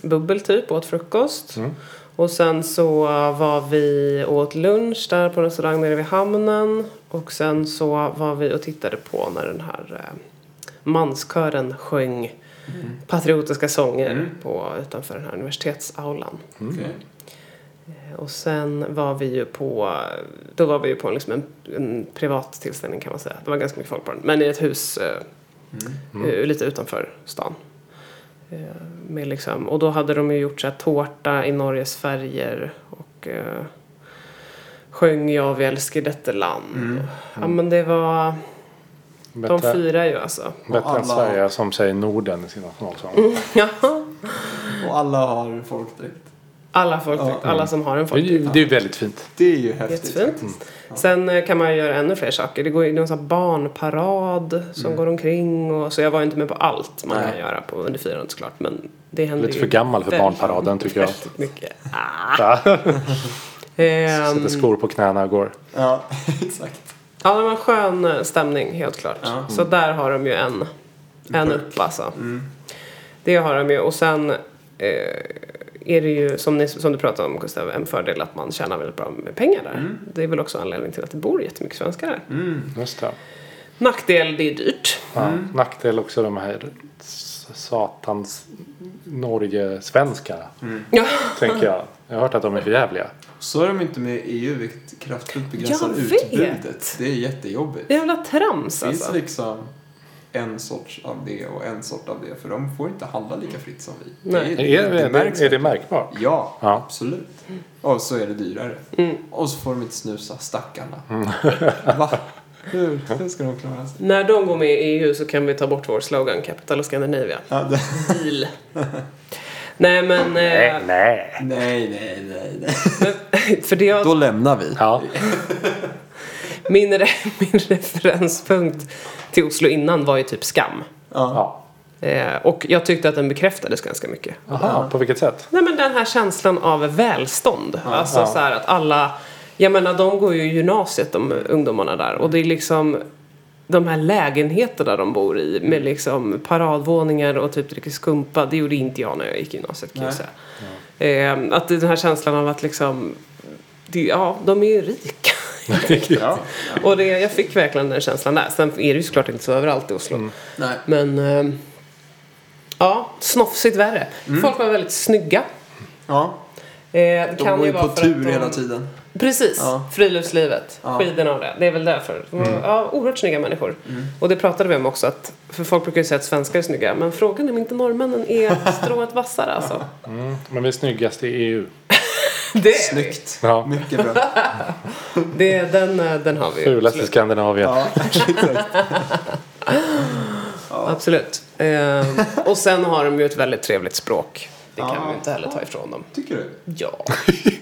B: bubbel typ, åt frukost. Och sen så var vi och åt lunch där på en restaurang nere vid hamnen. Och sen så var vi och tittade på när den här eh, manskören sjöng patriotiska sånger på, utanför den här universitetsaulan.
E: Okej.
B: Och sen var vi ju på, då var vi ju på liksom en, en privat tillställning kan man säga. Det var ganska mycket folk på den. Men i ett hus eh,
D: Mm.
B: eh, lite utanför stan. Eh, med liksom, och då hade de ju gjort så här tårta i Norges färger och eh, sjöng Jag vi älskar detta land. Ja men det var, de
D: Mm. Bättre,
B: firar ju alltså.
D: bättre
E: alla-
D: än Sverige som säger Norden i sin nationalsång.
B: Ja,
E: Och alla har folkdräkt.
B: alla folk, alla som har en
D: Det är
B: folk.
D: ju det är ju väldigt fint.
E: Det är ju häftigt.
B: Jättefint.
D: Mm.
B: Sen eh, kan man ju göra ännu fler saker. Det går ju det är en sån här barnparad som
D: Mm.
B: går omkring. Och, så jag var ju inte med på allt man
E: Nej.
B: kan göra på under firandet såklart. Men det händer
D: Lite
B: ju
D: för gammal för
B: väldigt,
D: barnparaden tycker jag.
B: väldigt Mycket. Ah.
D: Ja,
B: Ehm,
D: Sätter skor på knäna och går.
E: Ja, exakt.
B: ja, det var en skön eh, stämning helt klart.
E: Ja.
B: Så
D: Mm.
B: där har de ju en, en upp alltså. Det har de ju. Och sen eh, är det ju, som, ni, som du pratade om Gustav, en fördel att man tjänar väldigt bra med pengar där.
D: Mm.
B: Det är väl också anledningen till att det bor jättemycket svenskar där.
D: Just det.
B: Nackdel, det är dyrt.
D: Ja. Nackdel också de här s- satans Norge-svenskar.
B: Ja.
D: Tänker jag. Jag har hört att de är för jävliga.
E: Så är de inte med i EU, vilket kraftfullt begränsar
B: Jag vet.
E: utbudet. Det är jättejobbigt.
B: Jävla trams
E: Det finns
B: alltså.
E: liksom en sorts av det och en sort av det, för de får inte handla lika fritt som vi.
B: Nej.
D: Är, är,
E: märks.
D: det- är det märkbart?
E: Ja,
D: Ja.
E: absolut. Och så är det dyrare.
B: Mm.
E: Och så får de inte snusa, stackarna.
D: Mm.
E: Va? Hur, hur ska de klara sig?
B: När de går med i EU så kan vi ta bort vår slogan Capital och Scandinavia.
E: Ja, det...
B: Deal. Nej men... Eh,
D: Nej, nej.
E: Nej, nej, nej, nej.
B: men för det jag,
E: Då lämnar vi.
D: Ja,
B: min, re- min referenspunkt till Oslo innan var ju typ skam.
E: Ja.
D: ja.
B: Eh, och jag tyckte att den bekräftades ganska mycket.
D: Aha, på vilket sätt?
B: Nej men den här känslan av välstånd. alltså
D: ja.
B: så här att alla, jag menar de går ju i gymnasiet de ungdomarna där och det är liksom de här lägenheterna de bor i med liksom paradvåningar och typ dricker skumpa. Det gjorde inte jag när jag gick i gymnasiet kan jag
E: Nej.
B: säga. Eh, att det är den här känslan av att liksom, det, ja, de är ju rika.
E: Ja.
B: och det, jag fick verkligen den känslan där. Sen är det ju såklart inte så överallt i Oslo.
E: Mm. Nej.
B: Men eh, ja, snofsigt värre.
E: Mm.
B: Folk var väldigt snygga.
E: Ja.
B: Eh, det
E: De
B: kan
E: går
B: ju
E: ju på
B: vara för att
E: tur
B: de...
E: hela tiden.
B: Precis,
E: Ja.
B: friluftslivet,
E: Ja. Mm.
B: skidorna och det. Det är väl därför. De var, Ja, oerhört snygga människor. Och det pratade vi om också, att, för folk brukar ju säga att svenskar är snygga, men frågan är om inte norrmännen är strået vassare alltså.
D: Mm, men vi är snyggast i E EU.
B: Det är vi.
E: Snyggt.
D: Ja.
E: Mycket bra.
B: det, är- den, eh, den har vi ju.
D: Fulaste Skandinavien.
E: Ja, exakt.
B: Absolut. Ehm, och sen har de ju ett väldigt trevligt språk. Det kan
E: Ja.
B: vi ju inte heller ta ifrån dem.
E: Tycker du?
B: Ja.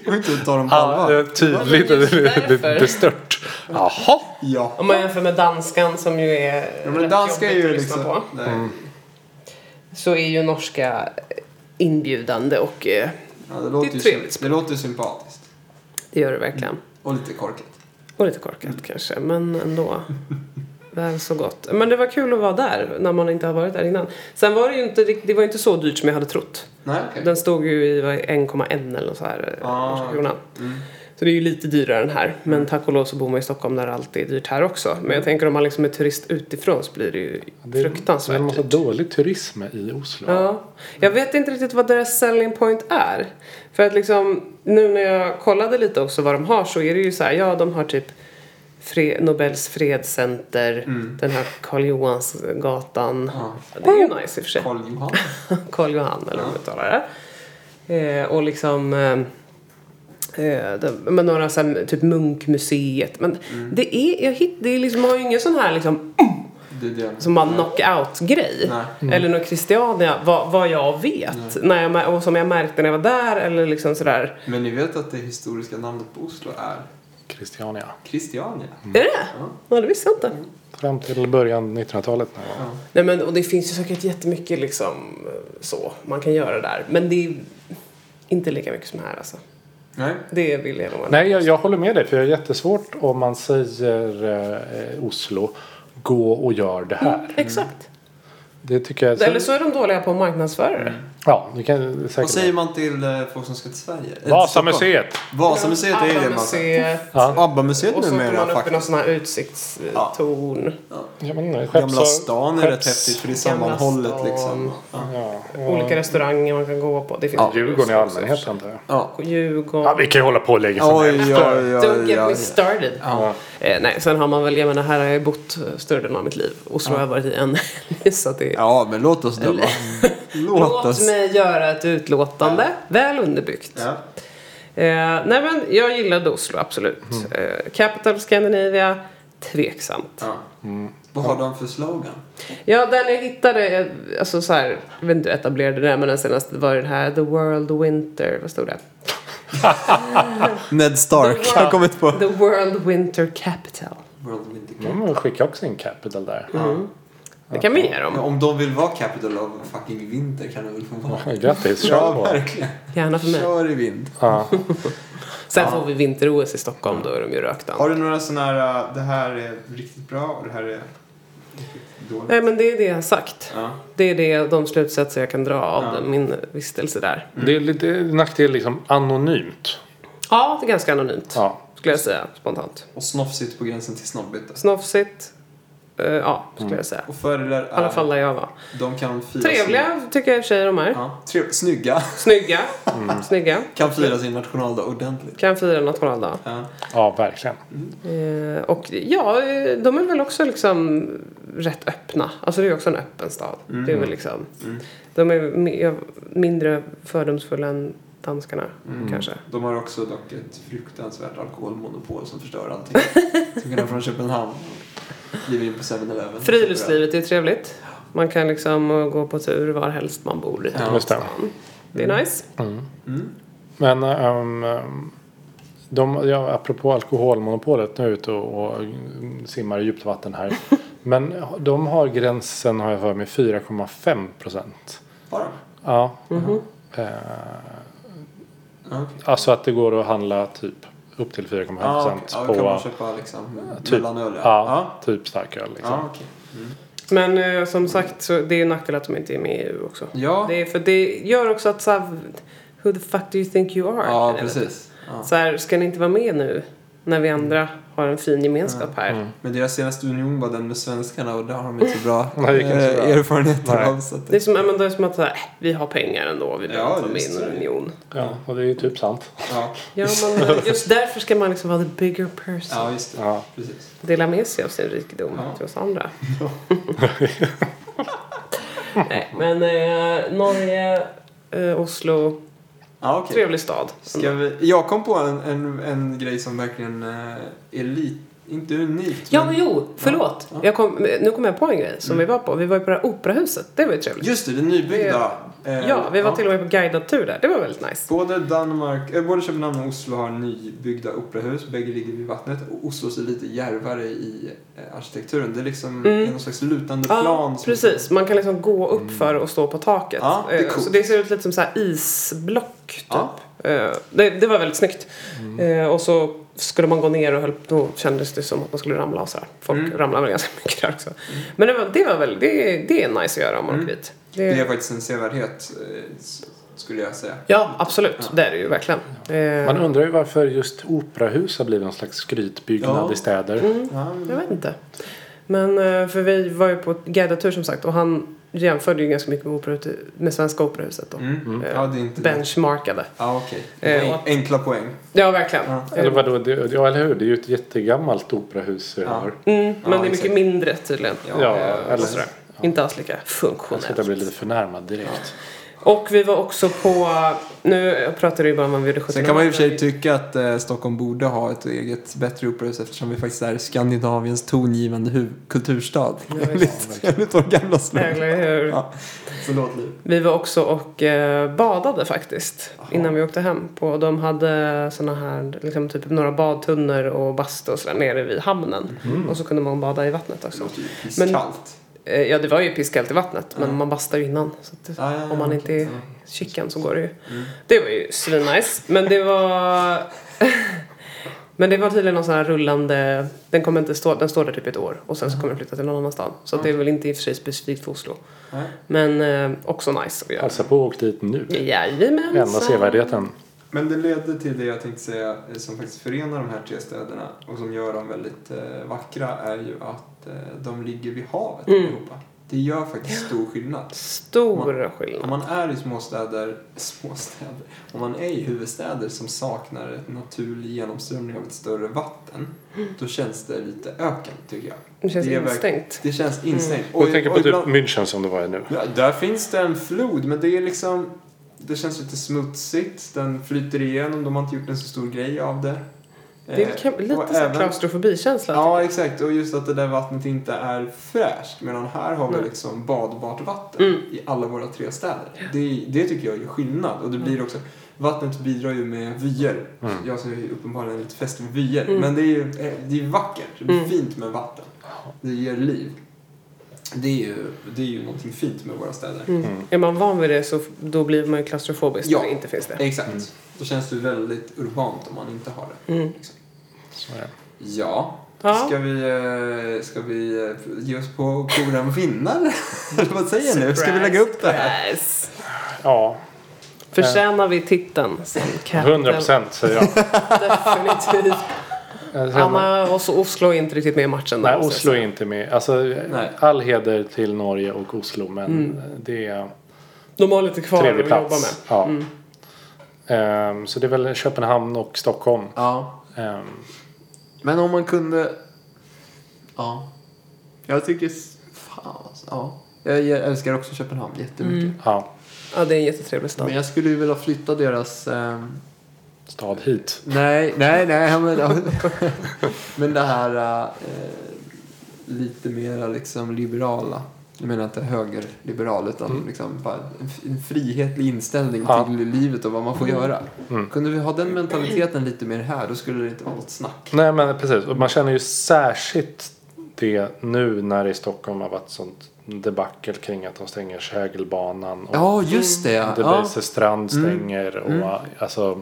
E: Går inte att ta dem på
D: Ja, det är
E: allvar?
D: tydligt.
B: Ja, men just
D: Det
B: därför.
D: blir bestört. Jaha.
E: Ja.
B: Om man jämför med danskan som ju är
E: Ja,
B: rätt
E: men danska är
B: jobbigt
E: ju
B: att lyssna
E: liksom...
B: på.
E: Nej.
D: Mm.
B: Så är ju norska inbjudande och eh,
E: Ja, det, låter
B: Det är
E: ju,
B: trevligt
E: symp- det låter ju sympatiskt.
B: det gör det verkligen.
E: Och lite korkat.
B: Och lite korkat kanske, men ändå. Väl så gott. Men det var kul att vara där när man inte har varit där innan. Sen var det ju inte, rikt- det var ju inte så dyrt som jag hade trott.
E: Nej, okej.
B: Den stod ju i vad, 1,1 eller så här eh,
E: Ah,
B: norska kronan. Så det är ju lite dyrare än här. Men tack och lov så bor man i Stockholm där allt är dyrt här också. Men jag tänker om man liksom är turist utifrån så blir det ju
D: Det är-
B: fruktansvärt
D: Det är en massa
B: dyrt.
D: dålig turism i Oslo.
B: Ja. Jag vet inte riktigt vad deras selling point är. För att liksom, nu när jag kollade lite också vad de har så är det ju så här, ja de har typ fre- Nobels fredscenter, den här Karl Johansgatan.
E: Mm. Ja.
B: Det är ju nice i och för sig.
E: Karl Johan.
B: Karl Johan eller hur man uttalar det. Eh, och liksom eh, eh, de- men några så här, typ Munkmuseet. Men
E: Mm.
B: det är, jag hitt, det är liksom, man har ju ingen sån här liksom
E: Det är det.
B: som bara knockout-grej.
E: Nej.
D: Mm.
B: Eller någon Christiania, vad, vad jag vet. När jag, mär- och som jag märkte när jag var där eller liksom sådär.
E: Men ni vet att det historiska namnet på Oslo är
D: Christiania.
E: Christiania?
D: Mm.
B: Är det det?
E: Mm. Ja.
B: Ja, det visste jag inte.
D: Fram till början 1900-talet. när jag var-
B: Nej men och det finns ju säkert jättemycket liksom eh, så man kan göra där. Men det är inte lika mycket som här alltså.
E: Nej.
B: Det vill jag nog.
D: Nej, jag, jag håller med dig. För jag är jättesvårt om man säger eh, Oslo. Gå och gör det här.
B: Mm,
D: Mm. Alltså-
B: Exakt.
D: Det tycker jag.
B: Eller så är de dåliga på att marknadsföra det.
D: Ja, det kan
E: Vad
D: säkert.
E: säger man till eh, folk som ska till Sverige? Eh, till
D: Vasamuseet.
E: Stockholm? Vasamuseet är ju det man säger.
B: Museet.
D: Ja.
E: ABBA-museet
B: Och så åker man
E: numera
B: upp i någon
E: faktiskt.
B: sån här utsiktstorn.
D: Jag vet inte, skepps-
E: Gamla stan är rätt
D: skepps-
E: häftigt för det är
B: Gamla
E: sammanhållet
B: stan.
E: liksom. Ja.
D: Ja,
B: Olika restauranger man kan gå på. Det finns
D: Djurgården i allmänhet antar jag.
E: ja.
B: Djurgården.
D: Ja, vi kan ju hålla på länge som
E: Oj,
D: helst.
E: oj, oj,
B: Don't
E: oj,
B: get me
E: oj.
B: started.
E: Ja.
B: Eh, nej, sen har man väl, jag menar här har jag bott eh, större delen av mitt liv. Och så har jag varit i en helg, så att det
E: Ja, men låt oss döma. Låt
B: Låt
E: oss.
B: mig göra ett utlåtande, väl underbyggt.
E: Ja.
B: Eh, nej men jag gillade Oslo, absolut.
E: Mm.
B: Eh, Capital Scandinavia, tveksamt.
E: Ja.
D: Mm.
E: Vad har de för slogan?
B: Ja, den jag hittade, eh, alltså så här, jag vet inte hur jag etablerade det, men den senaste var ju den här The World Winter, vad stod det?
E: Ned Stark.
B: The
E: Jag har
B: World-
E: kommit på.
B: The World Winter Capital.
E: World Winter Cup.
D: Mm, skicka också in Capital där.
B: Det kan vi ge
E: Ja,
B: dem.
E: om de vill vara Capital of fucking Winter kan de väl få vara.
D: Grattis, kör
E: Ja,
D: på.
E: verkligen.
B: Gärna för mig.
E: Kör i vind.
D: Ja.
B: Sen får vi vinter-OS i Stockholm, då är de ju rökta.
E: Har du några sådana här, äh, det här är riktigt bra och det här är riktigt dåligt?
B: Nej men det är det jag har sagt.
E: Ja.
B: Det är det, de slutsatser jag kan dra av
E: Ja.
B: den- min vistelse där.
D: Det är lite nackdel liksom anonymt.
B: Ja, det är ganska anonymt.
D: Ja.
B: Skulle jag säga spontant.
E: Och snofsigt på gränsen till snobbigt. alltså.
B: Snofsigt. eh, ja, skulle jag säga.
E: Och fördelar
B: I alla fall
E: är,
B: där jag var.
E: de kan fira Sin,
B: Trevliga tycker jag i och för sig de är.
E: ja, Mm. trev, snygga.
B: Snygga. Snygga.
E: Kan fira sin nationaldag ordentligt.
B: Kan fira nationaldag.
E: Ja.
D: Ja, verkligen.
B: Eh, och ja, eh, de är väl också liksom rätt öppna. Alltså det är ju också en öppen stad.
E: Mm.
B: Det är väl liksom. De är mi- mindre fördomsfulla än danskarna
E: Mm.
B: kanske.
E: De har också dock ett fruktansvärt alkoholmonopol som förstör allting. Till skillnad från Köpenhamn. Kliver in på 7-Eleven.
B: Friluftslivet är ju trevligt. Man kan liksom eh, gå på tur var helst man bor i.
E: Ja.
D: Just det.
B: Det är nice.
D: Men ehm, ehm, de, ja, apropå alkoholmonopolet, nu är jag ute och, och simmar i djupt vatten här. Men de har gränsen, har jag för mig, 4,5 procent.
E: Har de?
D: Ja. Eh,
E: Mm-hmm. Ja, okej.
D: alltså att det går att handla typ upp till 4,5%
E: Ja, okej. ja, då kan man
D: på
E: köpa liksom
D: typ-
E: mellanöl.
D: ja,
E: Ja,
D: typ starköl. Liksom.
E: ja okej.
B: Men eh, som sagt, så det är en nackdel att de inte är med i EU också.
E: Ja.
B: Det är, för det gör också att så här, who the fuck do you think you are?
E: Ja,
B: Eller-
E: precis. Ja.
B: Så här, ska ni inte vara med nu när vi andra har en fin gemenskap här?
E: Men deras senaste union var den med svenskarna och där har de inte så bra,
D: Nej, det gick inte så
E: eh,
D: bra.
E: erfarenheter
D: Nej.
E: av. Så att
B: Det är som, ja, men det är som att så här, äh, vi har pengar ändå, vi behöver
E: Ja,
B: inte vara med i
E: just
B: någon
E: det.
B: union.
D: Ja, och det är ju typ sant.
E: ja.
B: Ja, men eh, just därför ska man liksom vara the bigger person.
E: ja, just det.
D: Ja.
E: Precis.
B: Dela med sig av sin rikedom
E: Ja.
B: till oss andra. Nej, men eh, Norge, eh, Oslo,
E: Ja, okej.
B: trevlig stad.
E: Ska vi... Jag kom på en, en, en grej som verkligen eh, är lite, inte unikt.
B: Ja,
E: men-
B: men jo, förlåt.
E: Ja. Mm.
B: Jag kom, nu kom jag på en grej som vi var på. Vi var ju på det här operahuset. Det var ju trevligt.
E: Just det, det nybyggda. eh,
B: ja, vi var till och med på guidad tur där. Det var väldigt nice.
E: Både Danmark, eh, både Köpenhamn och Oslo har nybyggda operahus. Bägge ligger vid vattnet. Och Oslo ser lite djärvare i eh, arkitekturen. Det är liksom
B: Mm.
E: någon slags lutande plan.
B: Ja,
E: som- Mm.
B: precis. Man kan liksom gå upp för och stå på taket.
E: Ja, det är
B: Eh,
E: coolt.
B: Så det ser ut lite som så här isblock, typ.
E: Ja. Mm.
B: Eh, Det, det var väldigt snyggt. Eh, Och så skulle man gå ner och höll, då kändes det som att man skulle ramla och så här. Folk
E: Mm.
B: ramlar väl ganska mycket där också. Men det var, det var väl, det, det är nice att göra om man
E: Mm.
B: åker dit.
E: Det är faktiskt en sevärdhet, eh, s- skulle jag säga.
B: Ja, absolut. Det är det ju verkligen. Eh,
D: Man undrar ju varför just operahus har blivit någon slags skrytbyggnad
E: Ja. Mm.
D: i städer.
E: Ja, men-
B: Jag vet inte. Men eh, för vi var ju på guidatur som sagt och han jämförde ju ganska mycket med, operahuset, med svenska operahuset då.
E: Mm. Ja, det är inte det.
B: Benchmarkade.
E: Ja, okej.
B: Eh, och
E: En-
B: att-
E: Enkla poäng.
B: Ja, verkligen.
E: Ja.
B: Eh,
D: Eller vadå, det, ja eller hur? Det är ju ett jättegammalt operahus vi
E: Ja.
D: har.
B: Mm, men
E: Ja,
B: det är mycket
E: exakt.
B: mindre tydligen.
E: Ja,
D: Ja,
B: Eh,
D: eller
B: sådär.
D: sådär.
B: Inte alls lika
D: Jag
B: funktionellt.
D: sitter och blir lite förnärmad direkt.
B: Och vi var också på, nu pratar du ju bara om vad vi gjorde 17
E: Sen kan man i och för sig tycka att eh, Stockholm borde ha ett eget bättre operahus eftersom vi faktiskt är Skandinaviens tongivande huv- kulturstad.
B: visst.
E: Enligt, enligt vår gamla slogan.
B: Eller hur?
E: Ja. Så låt liv.
B: Vi var också och eh, badade faktiskt
E: Jaha.
B: innan vi åkte hem. På, de hade såna här, liksom typ några badtunnor och bastu och sådär nere vid hamnen.
E: Mm.
B: Och så kunde man bada i vattnet
E: Det
B: också.
E: låter ju
B: Men-
E: pisskallt.
B: Eh, ja, det var ju pisskallt i vattnet
E: Ja. Ah,
B: men man bastar ju innan. Så att det,
E: Ja, ja, ja,
B: om man
E: okej.
B: inte är
E: Ja. Mm.
B: chicken så går det ju. Det var ju svinnice. Men det var... men det var tydligen någon sån här rullande... Den kommer inte stå... Den står där typ ett år och sen så kommer den flytta till någon annan stad. Så att det är väl inte i och för sig specifikt för Oslo.
E: Nej.
B: Men eh, också nice att göra.
D: Passa på och åk dit nu.
B: Jajamensan.
D: Enda sevärdheten.
E: Men det ledde till det jag tänkte säga eh, som faktiskt förenar de här tre städerna och som gör dem väldigt eh, vackra är ju att eh, de ligger vid havet
B: Mm.
E: allihopa. Det gör faktiskt stor skillnad.
B: Stor
E: Om
B: skillnad.
E: man är i småstäder, småstäder, om man är i huvudstäder som saknar en naturlig genomströmning av ett större vatten, då känns det lite öken tycker jag.
B: Mm. Det känns
E: det är verk-
B: instängt. Mm.
E: Det känns instängt.
D: Och jag tänker på typ
E: ibland-
D: München som det var i nu.
E: Ja, där finns det en flod, men det är liksom... Det känns lite smutsigt. Den flyter igenom. De har inte gjort en så stor grej av det.
B: Det är
E: Eh,
B: väl kan- lite
E: och
B: så här klaustrofobikänsla.
E: Ja, exakt. Och just att det där vattnet inte är fräscht. Medan här har vi
B: Nej.
E: liksom badbart vatten
B: Mm.
E: i alla våra tre städer. Det, det tycker jag gör skillnad. Och det
B: Mm.
E: blir också... Vattnet bidrar ju med vyer. Jag som är uppenbarligen lite fäst vid vyer. Men det är ju eh, det är vackert. Det är
B: Mm.
E: fint med vatten. Det ger liv. Det är ju, det är ju någonting fint med våra städer.
B: Mm. Är man van vid det så f- då blir man ju klaustrofobisk
E: Ja.
B: när det inte finns det.
E: Exakt. Då känns det väldigt urbant om man inte har det.
B: Mm.
E: Liksom.
D: Så är det.
E: Ja.
B: Ja.
E: Ska vi, eh, ska vi eh, ge oss på koran finnar? Eller Vad säger ni? Ska vi lägga upp det här?
B: Surprise.
D: Ja,
B: Förtjänar vi titeln som
D: 100 procent säger jag.
B: Definitivt.
D: Jag känner-
B: Anna och så Oslo är inte riktigt med i matchen. där,
D: Nej,
B: måste
D: Oslo
B: jag
D: är
B: säga.
D: inte med. Alltså,
E: Nej.
D: all heder till Norge och Oslo, men det är
B: De har lite kvar
D: trevlig
B: att jobba med.
D: plats. Ja. Ehm, så det är väl Köpenhamn och Stockholm.
E: Ja.
D: Ehm,
E: Men om man kunde... Ja. Jag tycker... Fan alltså. Ja. Jag, jag älskar också Köpenhamn jättemycket.
B: Mm.
D: ja,
B: Ja, det är en jättetrevlig stad.
E: Men jag skulle ju vilja flytta deras... ehm,
D: stad hit.
E: Nej, nej, nej. Men, men det här eh, lite mera liksom liberala. Jag menar inte högerliberal utan liksom bara en f- en frihetlig inställning
D: Mm. Ja. Mm.
E: till livet och vad man får göra. Kunde vi ha den mentaliteten lite mer här då skulle det inte vara något snack.
D: Nej, men precis. Och man känner ju särskilt det nu när det i Stockholm har varit sånt debacle kring att de stänger Kägelbanan. Och
E: Ja, Mm. just det. Ja.
D: Debaser strand stänger. Och, alltså,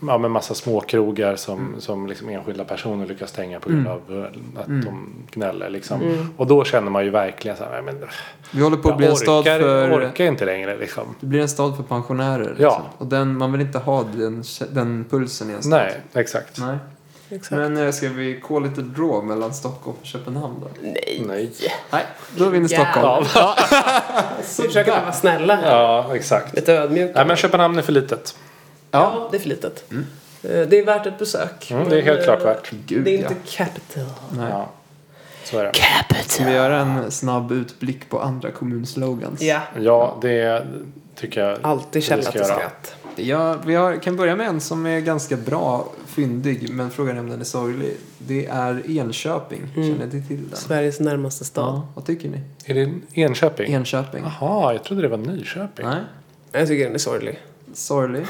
D: ja, med massa små krogar som, som liksom enskilda personer lyckas stänga på
E: Mm.
D: grund av eh, att de gnäller. Liksom. Och då känner man ju verkligen så här, men, äh,
E: Vi håller Mm. på att
D: jag
E: bli en stad
D: orkar,
E: för...
D: orkar inte längre. Liksom.
E: Det blir en stad för pensionärer.
D: Ja.
E: liksom. Och den, man vill inte ha den, den pulsen i en stad.
D: Nej, exakt.
E: Nej. Men eh, ska vi call lite draw mellan Stockholm och Köpenhamn då?
D: Nej.
E: Nej, då är vi inne i
B: Ja.
E: Stockholm.
B: Försöker vara snälla.
D: Ja, exakt.
B: Lite ödmjuka.
D: Nej, men Köpenhamn är för litet.
B: Ja, det är för litet. Eh, Det är värt ett besök.
D: Mm, det är
B: men,
D: helt
B: eh,
D: klart värt.
E: Mm. Gud,
B: det är
E: ja.
B: inte capital.
E: Nej.
D: Ja, så är det.
E: Ska vi göra en snabb utblick på andra kommunslogans?
B: Ja.
D: Ja, det tycker jag.
B: Alltid
D: vi
B: källa
D: ska
B: till
D: göra.
B: skratt.
E: Ja, vi har, kan börja med en som är ganska bra, fyndig, men frågan är om den är sorglig. Det är Enköping. Känner ni till den?
B: Sveriges närmaste stad.
E: Ja, vad tycker ni?
D: Är det Enköping?
E: Enköping?
D: Jaha, jag trodde det var Nyköping.
E: Nej,
B: Jag tycker den är sorglig.
E: sorglig.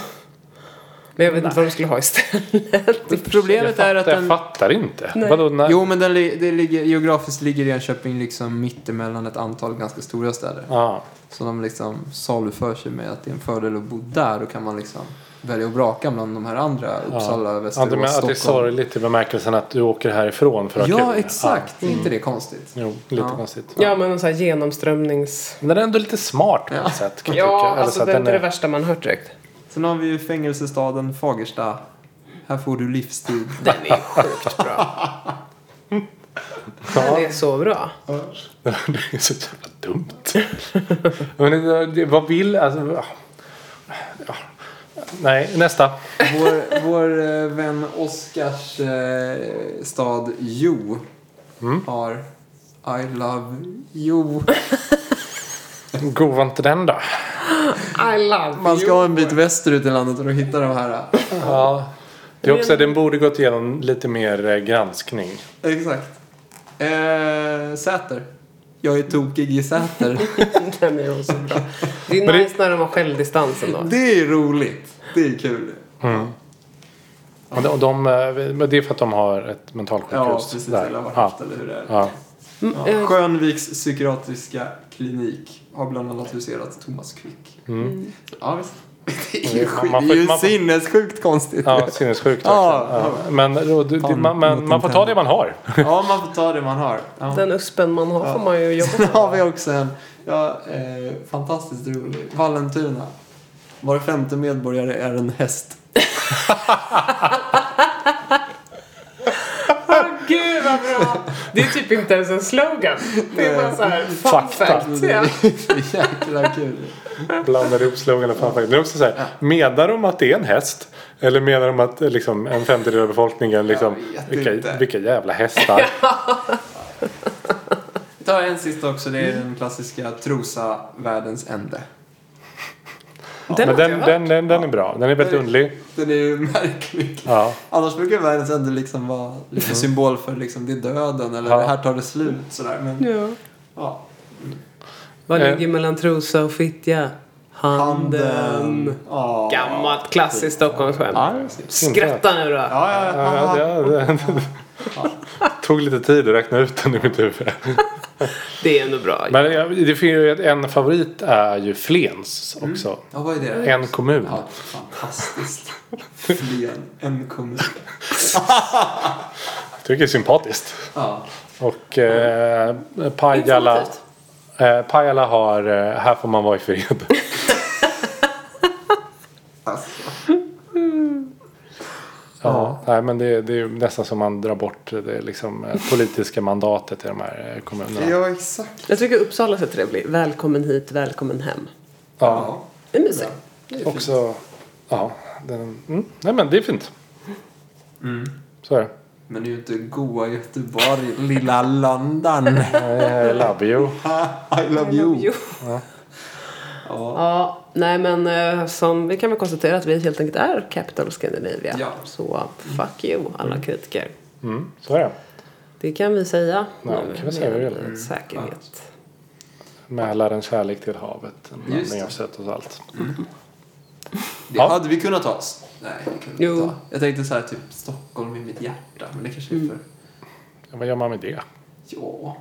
B: Men jag vet inte vad de skulle ha istället.
D: Jag,
E: Problemet
D: fattar,
E: är att
D: jag
E: den...
D: fattar inte.
B: Nej.
D: Vadå, när...
E: Jo, men den, li- det ligger, geografiskt ligger Enköping liksom mittemellan ett antal ganska stora städer.
D: Ja,
E: Så de liksom saluför sig med att det är en fördel att bo där. Då kan man liksom välja och vraka bland de här andra. Uppsala,
D: Ja,
E: Västerås,
D: du menar att det är
E: Stockholm.
D: sorgligt i bemärkelsen att du åker härifrån för att ha
E: Ja,
D: kul.
E: exakt. Är inte det konstigt?
D: Ja. Jo, lite
E: Ja.
D: konstigt.
B: Ja, men en sån här genomströmnings...
D: Men den är ändå lite smart på något sätt. Kan jag tycka.
B: Ja,
D: Eller så
B: alltså
D: att
B: det är inte
D: den
B: det värsta man hört direkt.
E: Sen har vi ju fängelsestaden Fagersta. Här får du livstid.
B: Den är sjukt bra. Den är så bra.
D: Det är så jävla dumt. Men det, det, vad vill... Alltså, ja. Ja. Nej, nästa.
E: Vår, vår eh, vän Oskars eh, stad Jo
D: Mm.
E: har I love Jo.
D: Go var inte den då?
B: I love
E: Man ska
B: you.
E: ha en bit västerut i landet för att hitta de här. eh.
D: Ja. Det är också, den borde gått igenom lite mer eh, granskning.
E: Exakt. Eh, Säter. Jag är tokig i Säter.
B: Den är så bra. Det är
D: Men det-
B: nice när de har självdistans ändå.
E: Det är roligt. Det är kul.
D: Och de, och de, eh, men det är för att de har ett mentalsjukhus.
E: Ja, precis.
D: där.
E: Eller har haft,
D: ja.
E: eller hur det är.
D: Ja.
B: Mm, eh,
E: Ja. Skönviks psykiatriska klinik har bland annat huserat Thomas Quick.
B: Mm.
E: Ja, visst. Det är ju,
D: Mm. Man-
E: sjukt-
D: man
E: det
D: får-
E: är ju
D: man får-
E: sinnessjukt konstigt.
D: Ja, sinnessjukt
E: Ja.
D: verkligen. Ja. Men eh, då- det- det- man, man, man får ta det man har.
E: Ja, man får ta det man har. Ja.
B: Den uspen man har får man ju jobba
E: Sen har vi också en ja, eh, fantastiskt rolig. Vallentuna. Var femte medborgare är en häst.
B: Ah, Gud vad bra! Det är typ inte ens en slogan. Det är bara såhär fun
D: Fakta.
B: facts.
E: Det
B: Ja.
E: är så jäkla kul.
D: Blandar ihop slogan och fanfakt. Det är också så här, menar de att det är en häst? Eller menar de att eh, liksom, en femtedel av befolkningen liksom,
E: Jag vet
D: vilka,
E: inte.
D: vilka jävla hästar?
E: Vi tar en sista också. Det är den klassiska Trosa, världens ände.
D: Men
B: Den har jag
D: den,
B: hört.
D: den, den, den är bra. Den är väldigt underlig.
E: Den är ju märklig.
D: Ja.
E: Annars brukar världens ände liksom vara lite symbol för liksom, det är döden eller
D: Ja.
E: det här tar det slut. Sådär. Men,
B: Ja.
E: ja.
B: Vad
D: Eh.
B: ligger mellan Trosa och Fittja? Handen.
E: Ja.
B: Gammalt klassiskt Stockholmsskämt.
E: Ja,
B: Skratta nu då!
E: ja, ja,
D: Ja,
E: ja.
D: det, det, tog lite tid att räkna ut den i mitt huvud.
B: Det är ändå bra.
D: Men jag- det finns ju ett- en favorit är ju Flens också.
E: ja, vad är det?
D: En kommun.
E: Ja, fantastiskt. Flen, en kommun.
D: Tycker det är sympatiskt.
E: Ja.
D: Och eh, Pajala,
B: Informativt.
D: eh, Pajala har eh, Här får man vara i fred.
E: Alltså.
D: ja, nej, men det, det är ju nästan som man drar bort det liksom, eh, politiska mandatet i de här eh, kommunerna. Ja.
E: Ja, exakt.
B: Jag tycker Uppsala är trevlig. Välkommen hit, välkommen hem.
E: Ja.
B: Det är mysigt.
D: Också, ja, den, mm, nej men det är fint. Så är det.
E: Men det är ju inte goa Göteborg, lilla London.
D: Eh, love you.
E: I love you.
B: Jo. Ja, nej men eh, som vi kan väl konstatera att vi helt enkelt är Capital Scandinavia.
E: Ja.
B: Så fuck you alla kritiker.
D: Mm, så är det.
B: Det kan vi säga.
D: Ja,
B: nu
D: kan vi säga
B: med
D: det, eller?
E: Mm.
B: Säkerhet.
D: Mälarens kärlek till havet. En
E: Just
D: blandning
E: det.
D: av sött och salt.
E: Det
D: Ja.
E: hade vi kunnat ta oss. Nej, det kunde vi
B: Jo.
E: inte ta. Jag tänkte så här,
B: Mm.
E: typ Stockholm i mitt hjärta. Men det kanske är för...
D: Ja, Vad gör man med det?
E: Ja.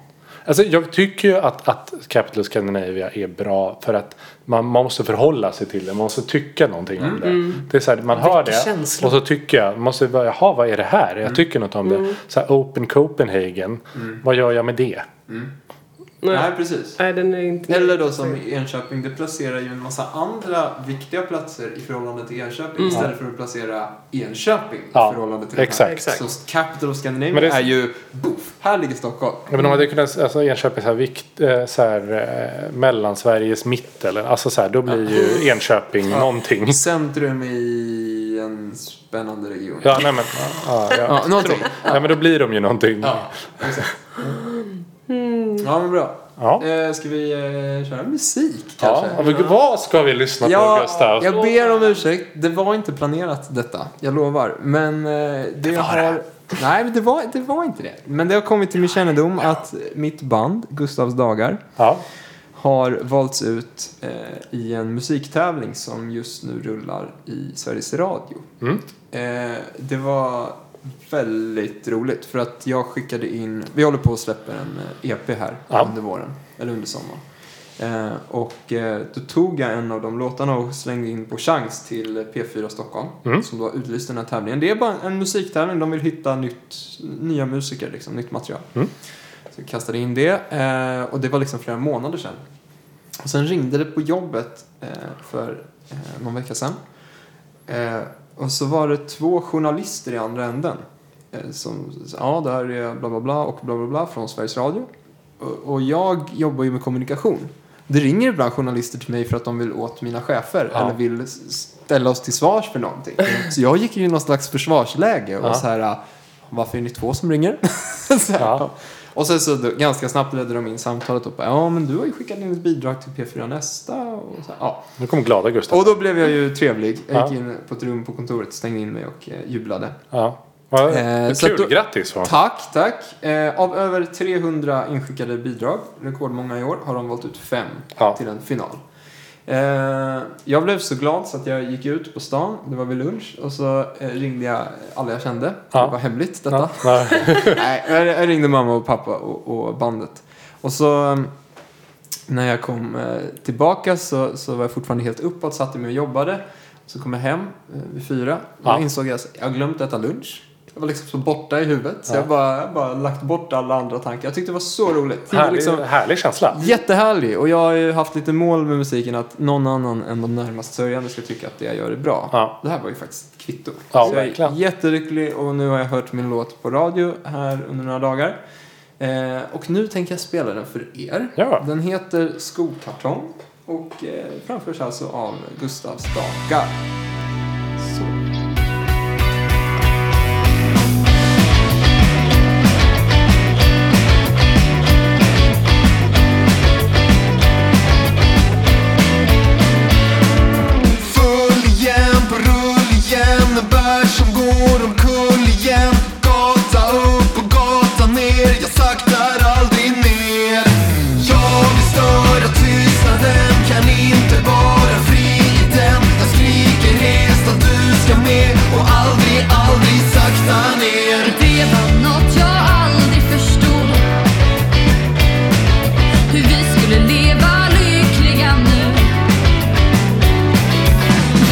D: Alltså jag tycker ju att, att Capital Scandinavia är bra för att man, man måste förhålla sig till det. Man måste tycka någonting
E: Mm.
D: om det. Det är så här, man hör det
B: känslor.
D: och så tycker jag, man måste bara, jaha vad är det här?
E: Mm.
D: Jag tycker något om det. Så här, Open Copenhagen, vad gör jag med det?
B: Nej.
E: Nej, precis.
B: Nej, den är inte...
E: Eller då som Enköping, det placerar ju en massa andra viktiga platser i förhållande till Enköping
B: Mm.
E: istället för att placera Enköping
D: Ja,
E: i förhållande till den här.
D: exakt.
B: Exakt.
E: Så Capital of Scandinavia
D: Men det är-
E: är ju, boof, här ligger Stockholm.
D: Ja, men om man hade kunnat, alltså Enköping så här, vikt, eh, så här eh, mellansveriges mitt eller, alltså så här, då blir ju Enköping någonting.
E: Centrum i en spännande region.
D: Ja, nej men, ja, ja, ja.
E: Ja, någonting.
D: Nej, men då blir de ju någonting.
E: Ja, exakt. Ja, men bra.
D: Ja.
E: Eh, ska vi eh, köra musik
D: Ja,
E: kanske?
D: men vad ska vi lyssna på Gustav?
E: jag ber om ursäkt. Det var inte planerat detta. Jag lovar. Men eh, det, jag
D: var det.
E: har... Nej, men det var, det var inte det. Men det har kommit till min kännedom att mitt band, Gustavs dagar,
D: Ja.
E: har valts ut eh, i en musiktävling som just nu rullar i Sveriges Radio.
D: Mm.
E: Eh, det var väldigt roligt för att jag skickade in, vi håller på att släppa en eh, EP här
D: Ja.
E: under våren, eller under sommaren. Eh, och eh, då tog jag en av de låtarna och slängde in på Chans till P4 Stockholm som då utlyste den här tävlingen. Det är bara en musiktävling, de vill hitta nytt, nya musiker, liksom, nytt material. Så jag kastade in det eh, och det var liksom flera månader sedan. Och sen ringde det på jobbet eh, för eh, någon vecka sedan. Eh, och så var det två journalister i andra änden. Eh, som sa, ja det här är bla bla bla och bla bla bla från Sveriges Radio. Och, och jag jobbar ju med kommunikation. Det ringer ibland journalister till mig för att de vill åt mina chefer
D: Ja.
E: eller vill s- ställa oss till svars för någonting. Så jag gick ju i någon slags försvarsläge och
D: Ja.
E: så här, eh, varför är ni två som ringer? så här,
D: Ja.
E: och sen så då, ganska snabbt ledde de in samtalet och bara, ja men du har ju skickat in ett bidrag till P4 Nästa och så här, ja.
D: Nu kom glada Gustav.
E: Och då blev jag ju trevlig. Jag
D: Ja.
E: gick in på ett rum på kontoret, stängde in mig och eh, jublade.
D: Ja. Ja,
E: Eh, så
D: kul,
E: att då-
D: grattis. va?
E: Tack, tack. Eh, av över 300 inskickade bidrag, rekordmånga i år, har de valt ut fem
D: Ja.
E: till en final. Eh, jag blev så glad så att jag gick ut på stan, det var vid lunch, och så eh, ringde jag alla jag kände.
D: Ja.
E: Det var hemligt detta.
D: Ja, nej.
E: Nej, jag, jag ringde mamma och pappa och, och bandet. Och så eh, när jag kom eh, tillbaka så, så var jag fortfarande helt uppåt, satte mig och jobbade. Så kom jag hem eh, vid fyra och
D: Ja.
E: då insåg jag att jag har glömt äta lunch. Jag var liksom så borta i huvudet så jag bara, jag bara lagt bort alla andra tankar. Jag tyckte det var så roligt. Det var
D: härlig,
E: liksom
D: härlig känsla.
E: jättehärlig och jag har ju haft lite mål med musiken att någon annan än de närmast sörjande ska tycka att det jag gör är bra.
D: Ja.
E: Det här var ju faktiskt ett kvitto.
D: Ja,
E: så jag är
D: verkligen.
E: jättelycklig och nu har jag hört min låt på radio här under några dagar. Eh, och nu tänker jag spela den för er.
D: Ja.
E: Den heter Skokartong och eh, framförs alltså av Gustav Staka. Så.
A: Full igen på rull igen En värld som går omkull igen Gata upp och gata ner Jag saktar aldrig ner Jag vill störa tystnaden Kan inte vara fri i den Jag skriker rest att du ska med Och aldrig, aldrig sakta ner
F: Det var något jag aldrig förstod Hur vi skulle leva lyckliga nu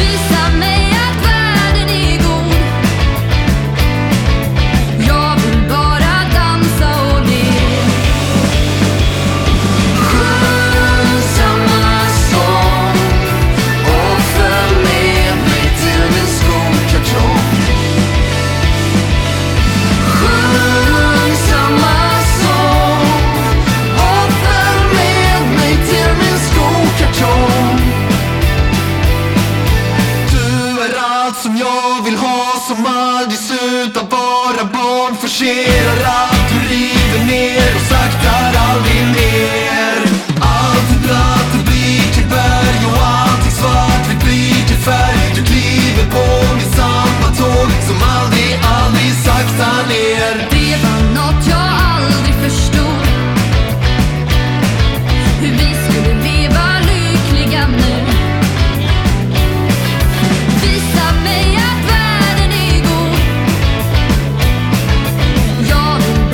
F: Visa mig att världen är god Jag vill bara dansa och le
A: Sjung samma sång Och följ med mig till min skolkartong Sjung samma sång Och följ med mig till min skolkartong Du är allt som jag vill ha Som aldrig slutar vara barn Forcerar allt du river ner Och saktar aldrig ner Allt är blött, det blir till berg Och allting svart, vi blir till färg Du kliver på min samma tåg Som aldrig, aldrig saktar ner
F: Det var något jag aldrig förstod Hur vi skulle leva lyckliga nu Visa mig att världen är god Jag vill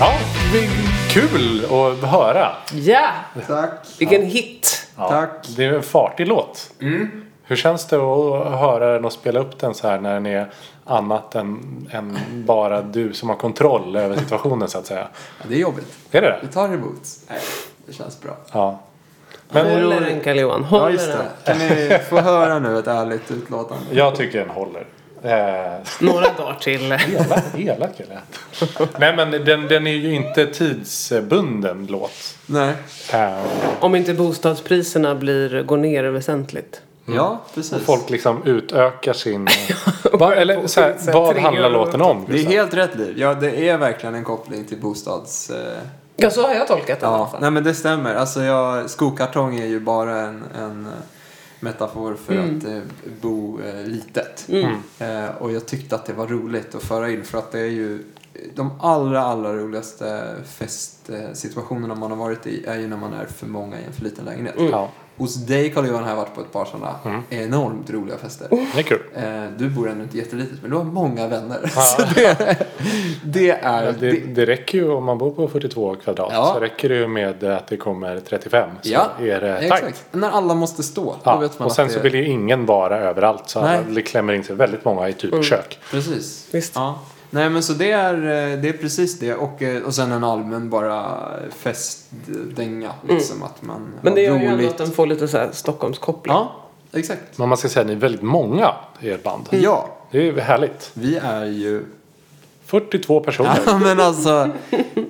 D: Ja, det är kul att höra.
B: Ja!
E: Tack.
B: Vilken hit!
D: Ja,
E: Tack.
D: Det är en fartig låt.
E: Mm.
D: Hur känns det att höra den och spela upp den så här när den är annat än, än bara du som har kontroll över situationen så att säga?
E: Ja, det är jobbigt.
D: Är det det?
E: Det tar emot. Nej, det känns bra.
D: Ja. Men
B: Håller den Carl-Johan,
E: Ja,
B: håller
E: just
B: den.
E: det. Kan ni få höra nu ett ärligt utlåtande?
D: jag tycker den håller. Eh,
B: Några dagar till.
D: elak, elak eller? Nej men den, den är ju inte tidsbunden låt.
E: Nej.
D: Eh,
B: Om inte bostadspriserna blir, går ner väsentligt.
E: Ja, precis.
D: folk liksom utökar sin... Vad- eller så här, vad
B: tre
D: handlar
B: år.
D: låten om?
E: Det är
D: liksom?
E: helt rätt liv. Ja, det är verkligen en koppling till bostads... Eh,
B: Ja, så har jag tolkat det i alla
E: ja,
B: fall.
E: nej men det stämmer. Alltså jag, skokartong är ju bara en, en eh, metafor för att eh, bo eh, litet. Eh, och jag tyckte att det var roligt att föra in för att det är ju de allra, allra roligaste festsituationerna man har varit i är ju när man är för många i en för liten lägenhet. Mm.
D: Ja,
E: Hos dig Carl-Johan har jag varit på ett par sådana enormt roliga fester.
D: det är kul.
E: Eh, du bor ännu inte jättelitet men du har många vänner. Så det, det är...
D: Ja,
E: det,
D: det, det räcker ju om man bor på 42 kvadrat.
E: Ja.
D: Så räcker det ju med att det kommer 35. Så
E: ja,
D: är det tajt.
E: exakt. När alla måste stå, då
D: Ja.
E: vet man
D: Och sen
E: att
D: så
E: det
D: vill ju ingen vara överallt. Så alla,
E: Nej. Mm.
D: det klämmer in sig väldigt många i typ kök.
E: Precis.
B: Visst.
E: Ja. Nej men så det är, eh, det är precis det och, eh, och sen en allmän bara festdänga liksom att man
B: Mm. Men det
E: har
B: gör ju ändå
E: roligt.
B: att Mm. den får lite så här Stockholmskoppling.
E: Ja, exakt.
D: Men man ska säga att ni är väldigt många i ert band.
E: Ja,
D: Det är ju härligt.
E: vi är ju
D: 42 personer.
E: Ja, men alltså,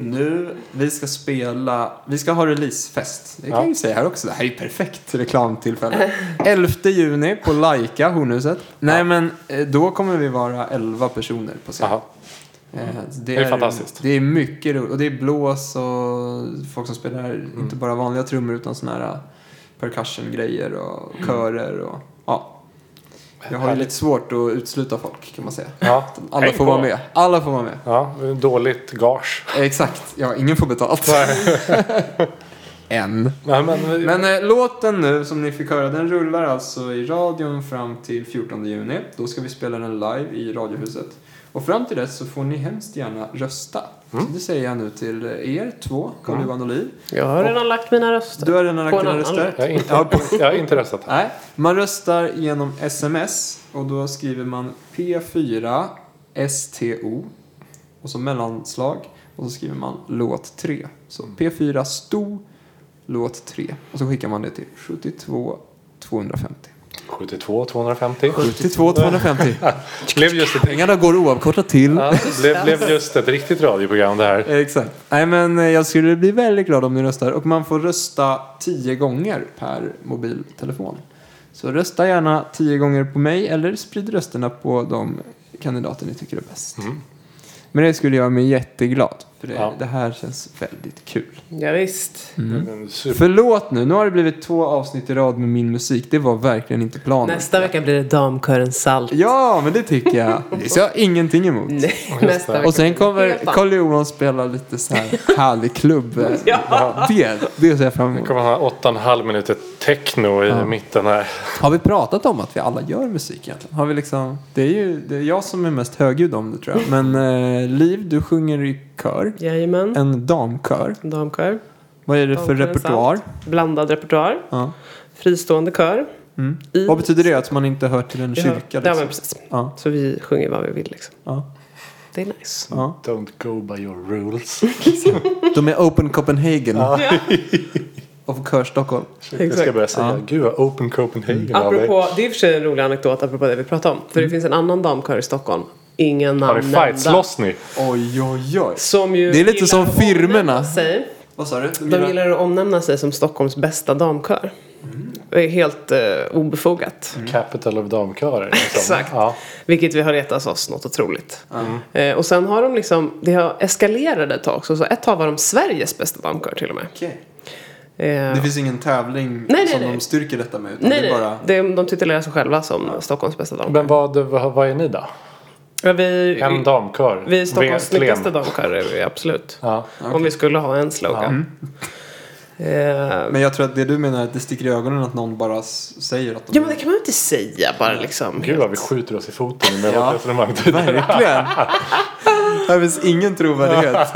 E: nu, vi ska spela, vi ska ha releasefest. Det kan jag ju säga här också, det här är ju perfekt reklamtillfälle. 11 juni på Laika, Hornhuset. Nej men, eh, då kommer vi vara 11 personer på scen.
D: Jaha.
E: Eh,
D: Det är fantastiskt.
E: Det är mycket roligt, och det är blås och folk som spelar,
D: Mm.
E: inte bara vanliga trummor utan sådana här eh, percussion-grejer och
D: Mm.
E: körer och, ja. Jag har ju lite svårt att utesluta folk kan man säga.
D: Ja.
E: Alla
D: Häng
E: får
D: på.
E: vara med. Alla får vara med.
D: Ja, dåligt gage.
E: Eh, Exakt, ja ingen får betalt. Än.
D: Nej, men,
E: Men eh, låten nu som ni fick höra den rullar alltså i radion fram till 14 juni. Då ska vi spela den live i Radiohuset. Och fram till dess så får ni hemskt gärna rösta.
D: Mm.
E: Så det säger jag nu till er två, Carl-Johan och Liv.
B: Jag har redan lagt mina röster.
E: Du har redan
B: På
E: lagt
B: en
E: dina
B: annan
E: röster.
B: låt.
D: jag, har inte, jag har inte röstat här.
E: Nej, man röstar genom sms och då skriver man P4 STO och så mellanslag och så skriver man låt 3. Så P4 STO låt 3 och så skickar man det till 72 250.
D: 72, 250.
E: 72 250.
D: Blev just ett,
E: Pengarna går oavkortat till.
D: ja, blev, blev just ett riktigt radioprogram det här.
E: Eh, Exakt. Nej men eh, jag skulle bli väldigt glad om ni röstar. Och man får rösta 10 gånger per mobiltelefon. Så rösta gärna 10 gånger på mig eller sprid rösterna på de kandidater ni tycker är bäst. Men det skulle göra mig jätteglad. För det,
D: Ja.
E: det här känns väldigt kul.
B: Ja, visst.
D: Men super-
E: Förlåt nu, nu har det blivit två avsnitt i rad med min musik. Det var verkligen inte planen.
B: Nästa vecka blir det Damkören Salt.
E: Ja, men det tycker jag. Det ser jag ingenting emot.
B: Nej, nästa vecka.
E: Och sen kommer
B: Helt sant.
E: Carl Johan spela lite så här härlig klubb. ja. det, det ser jag fram emot.
D: kommer han ha åtta och en halv minuter techno i mitten här.
E: Har vi pratat om att vi alla gör musik egentligen? Har vi liksom, det är ju det är jag som är mest högljudd om det tror jag. Men eh, Liv, du sjunger i kör.
B: Jajamän.
E: En damkör.
B: Damkör.
E: Vad är det för
B: Damkören
E: repertoar?
B: Salt. Blandad repertoar.
E: Ja.
B: Fristående kör. I-
E: Vad betyder det? Att man inte hör till en kyrka?
B: Ja, men
E: Liksom?
B: precis.
E: Ja,
B: Så vi sjunger vad vi vill liksom.
E: ja,
B: Det är nice.
E: ja.
D: Don't go by your rules.
E: De är Open Copenhagen. Of Kör Stockholm.
D: Jag ska
B: Exakt. Mm.
D: börja säga, gud vad Open Copenhagen har vi.
B: Apropå, det är i och för sig en rolig anekdot apropå det vi pratade om. För
E: Mm.
B: det finns en annan damkör i Stockholm. Ingen
D: Har ni
B: namn nämnda.
D: fightslåss ni?
E: Oj, oj, oj.
B: Som ju
E: Det är lite
B: gillar
E: som
B: att omnämna
E: firmerna.
B: Sig.
E: Vad sa du?
B: De gillar att omnämna sig som Stockholms bästa damkör.
E: Mm.
B: Det är helt eh, obefogat.
D: Capital of damkörer. liksom.
B: Exakt.
D: Ja.
B: Vilket vi har retats oss något otroligt. Eh, och sen har de liksom, det har eskalerade ett tag. Så så ett tag var de Sveriges bästa damkör till och med.
E: Okej.
B: Eh,
E: Det finns ingen tävling
B: nej,
E: som
B: nej.
E: de styrker detta med. Utan
B: nej,
E: det
B: nej.
E: är bara...
B: Det, de titulerar sig själva som Stockholms bästa damkör.
D: Men vad, vad, vad är ni då?
B: Ja, vi,
D: En damkör?
B: vi är Stockholms
D: Verkligen.
B: snyggaste damkör, är vi, absolut.
D: Ja. Mm.
B: Om vi skulle ha en slogan. Eh,
E: Men jag tror att det du menar är att det sticker i ögonen att någon bara s- säger att de
B: ja, men det kan man ju inte säga bara liksom.
D: Gud vad vi skjuter oss i foten med
E: Ja.
D: vårt resonemang.
E: Verkligen! Här finns ingen trovärdighet.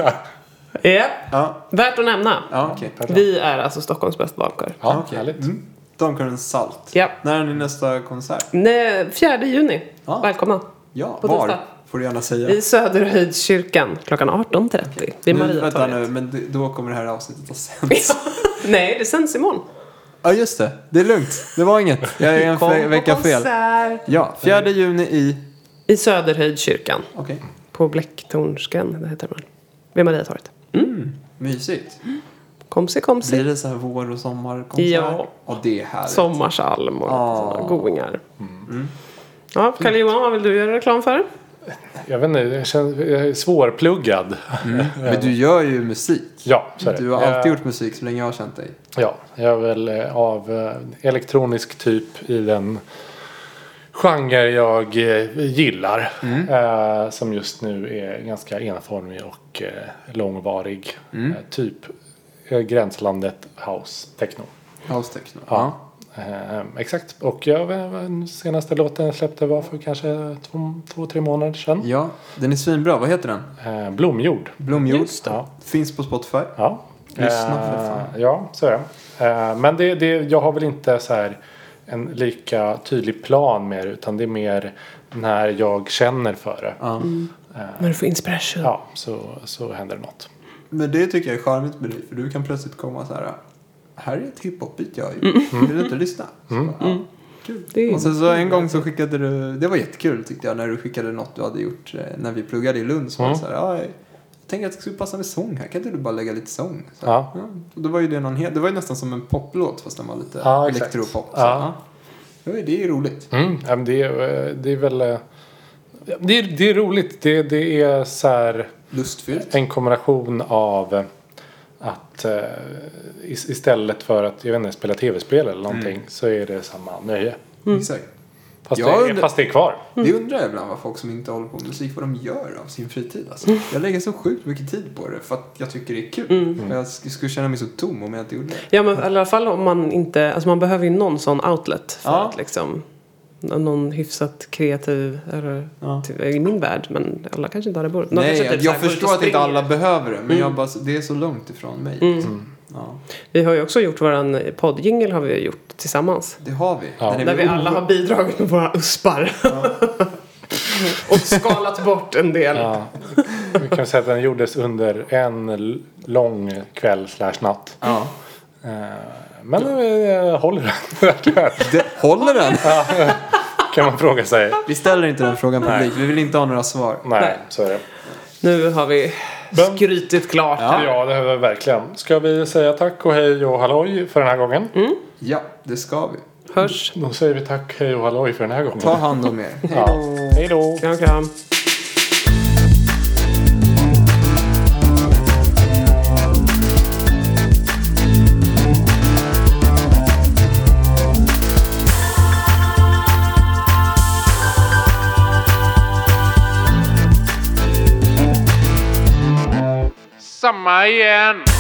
B: Japp.
E: Ja,
B: Värt att nämna.
E: ja okej.
B: Vi är alltså Stockholms bästa damkör.
D: Ja,
E: Okej.
D: härligt.
E: Mm. Damkören Salt.
B: Ja.
E: När är ni nästa konsert?
B: Nej, 4 juni.
E: Ja.
B: Välkomna.
E: Ja,
B: På
E: var?
B: tisdag.
E: Får du gärna säga.
B: I Söderhöjdskyrkan klockan 18.30. Det är
E: nu, vänta nu,
B: Mariatorget.
E: men d- då kommer det här avsnittet att sändas.
B: Nej, det sänds imorgon.
E: ja, just det. Det är lugnt. Det var inget. Jag är en fe-
B: på
E: vecka fel.
B: konsert.
E: Ja, 4 juni i...
B: I Söderhöjdskyrkan.
E: Okej.
B: På Blecktornsgränd, det heter det. Vid Mariatorget.
E: Mysigt.
B: Komsi, komsi.
E: Blir det så här vår och sommarkonsert?
B: Ja.
E: Och det är härligt.
B: Sommarsalm och
E: Ja.
B: sådana goingar.
E: Mm.
B: Ja, Kalle Johan, vad vill du göra reklam för?
D: Jag vet inte, jag, känner, jag är svårpluggad.
E: Men du gör ju musik.
D: Ja, så är det.
E: Mm. Du har alltid
D: Eh,
E: gjort musik så länge jag har känt dig.
D: Ja, jag är väl eh, av eh, elektronisk typ i den genre jag eh, gillar.
E: Mm.
D: Eh, som just nu är ganska enformig och eh, långvarig.
E: Mm.
D: Eh, typ eh, gränslandet house techno.
E: House techno.
D: Ja. Eh, exakt, och jag, eh, den senaste låten jag släppte var för kanske två, två tre månader sedan.
E: Ja, den är svinbra. Vad heter den?
D: Eh, Blomjord.
E: Blomjord.
B: Just
D: Ja.
E: Finns på Spotify.
D: Ja.
E: Lyssna
D: Eh,
E: för fan.
D: Ja, så är det. Eh, men det, det, jag har väl inte så här en lika tydlig plan med det utan det är mer när jag känner för det.
E: Ja.
B: Vad du får inspiration.
D: Ja, så, så händer det något.
E: Men det tycker jag är charmigt med dig. För du kan plötsligt komma så här. Här är ett hiphop-beat jag har gjort.
D: Mm.
E: Vill du inte lyssna? Så bara, ja, Kul.
B: Det är-
E: Och sen så en gång så skickade du. Det var jättekul tyckte jag. När du skickade något du hade gjort. eh, När vi pluggade i Lund. Så var
D: Mm.
E: det så här. Ja, jag tänker att det skulle passa med sång här. Kan inte du bara lägga lite sång? Så, här,
D: Ja.
E: Och då var ju det någon helt. Det var ju nästan som en poplåt. Fast den var lite
D: Ja, exakt.
E: elektropop. Så,
D: Ja.
E: här, ja. Det var ju- Det är ju roligt.
D: Mm, ja, men det, är- eh, det är väl... eh, Det är, det är roligt. Det, det är så här...
E: Lustfyllt.
D: en kombination av eh, att eh, is- istället för att jag vet inte, spela tv-spel eller någonting så är det samma nöje.
E: Exakt.
D: Fast,
E: Mm. Jag
D: det, är,
E: undrar-
D: fast det Mm. är kvar.
E: Det undrar jag ibland vad folk som inte håller på med musik, vad de gör av sin fritid. Alltså.
D: Mm.
E: Jag lägger så sjukt mycket tid på det för att jag tycker det är kul. Men Jag sk- skulle känna mig så tom om jag inte gjorde det.
B: Ja men i alla fall om man inte, alltså man behöver ju någon sån outlet för
E: Ja.
B: att liksom Någon hyfsat kreativ, eller
E: Ja.
B: ty- i min värld, men alla kanske inte har det bordet. De
E: Nej,
B: kanske
E: jag,
B: typ så här
E: jag
B: går ut och
E: förstår att inte
B: springer.
E: alla behöver det, men
D: Mm.
E: jag bara, det är så långt ifrån mig. liksom. Ja,
B: Vi har ju också gjort våran poddjingel har vi ju gjort tillsammans.
E: det har vi. Den är
B: Där vi
E: väl
B: alla har bidragit med våra uspar. och skalat bort en del.
D: Ja. Vi kan säga att den gjordes under en l- lång kväll slash natt.
E: Ja.
D: Eh, Men eh, håller den?
E: Det, håller den?
D: kan man fråga sig.
E: Vi ställer inte den frågan publikt. Vi vill inte ha några svar.
D: Nej, så är det.
B: Nu har vi
D: Men-
B: skrytit klart.
D: Ja, det har vi verkligen. Ska vi säga tack och hej och halloj för den här gången?
E: Mm. Ja, det ska vi.
B: Hörs.
D: Då säger vi tack, hej och halloj för den här gången.
E: Ta hand om er. Hej.
D: Ja. Hej då!
B: Kram, kram.
C: Samma igen.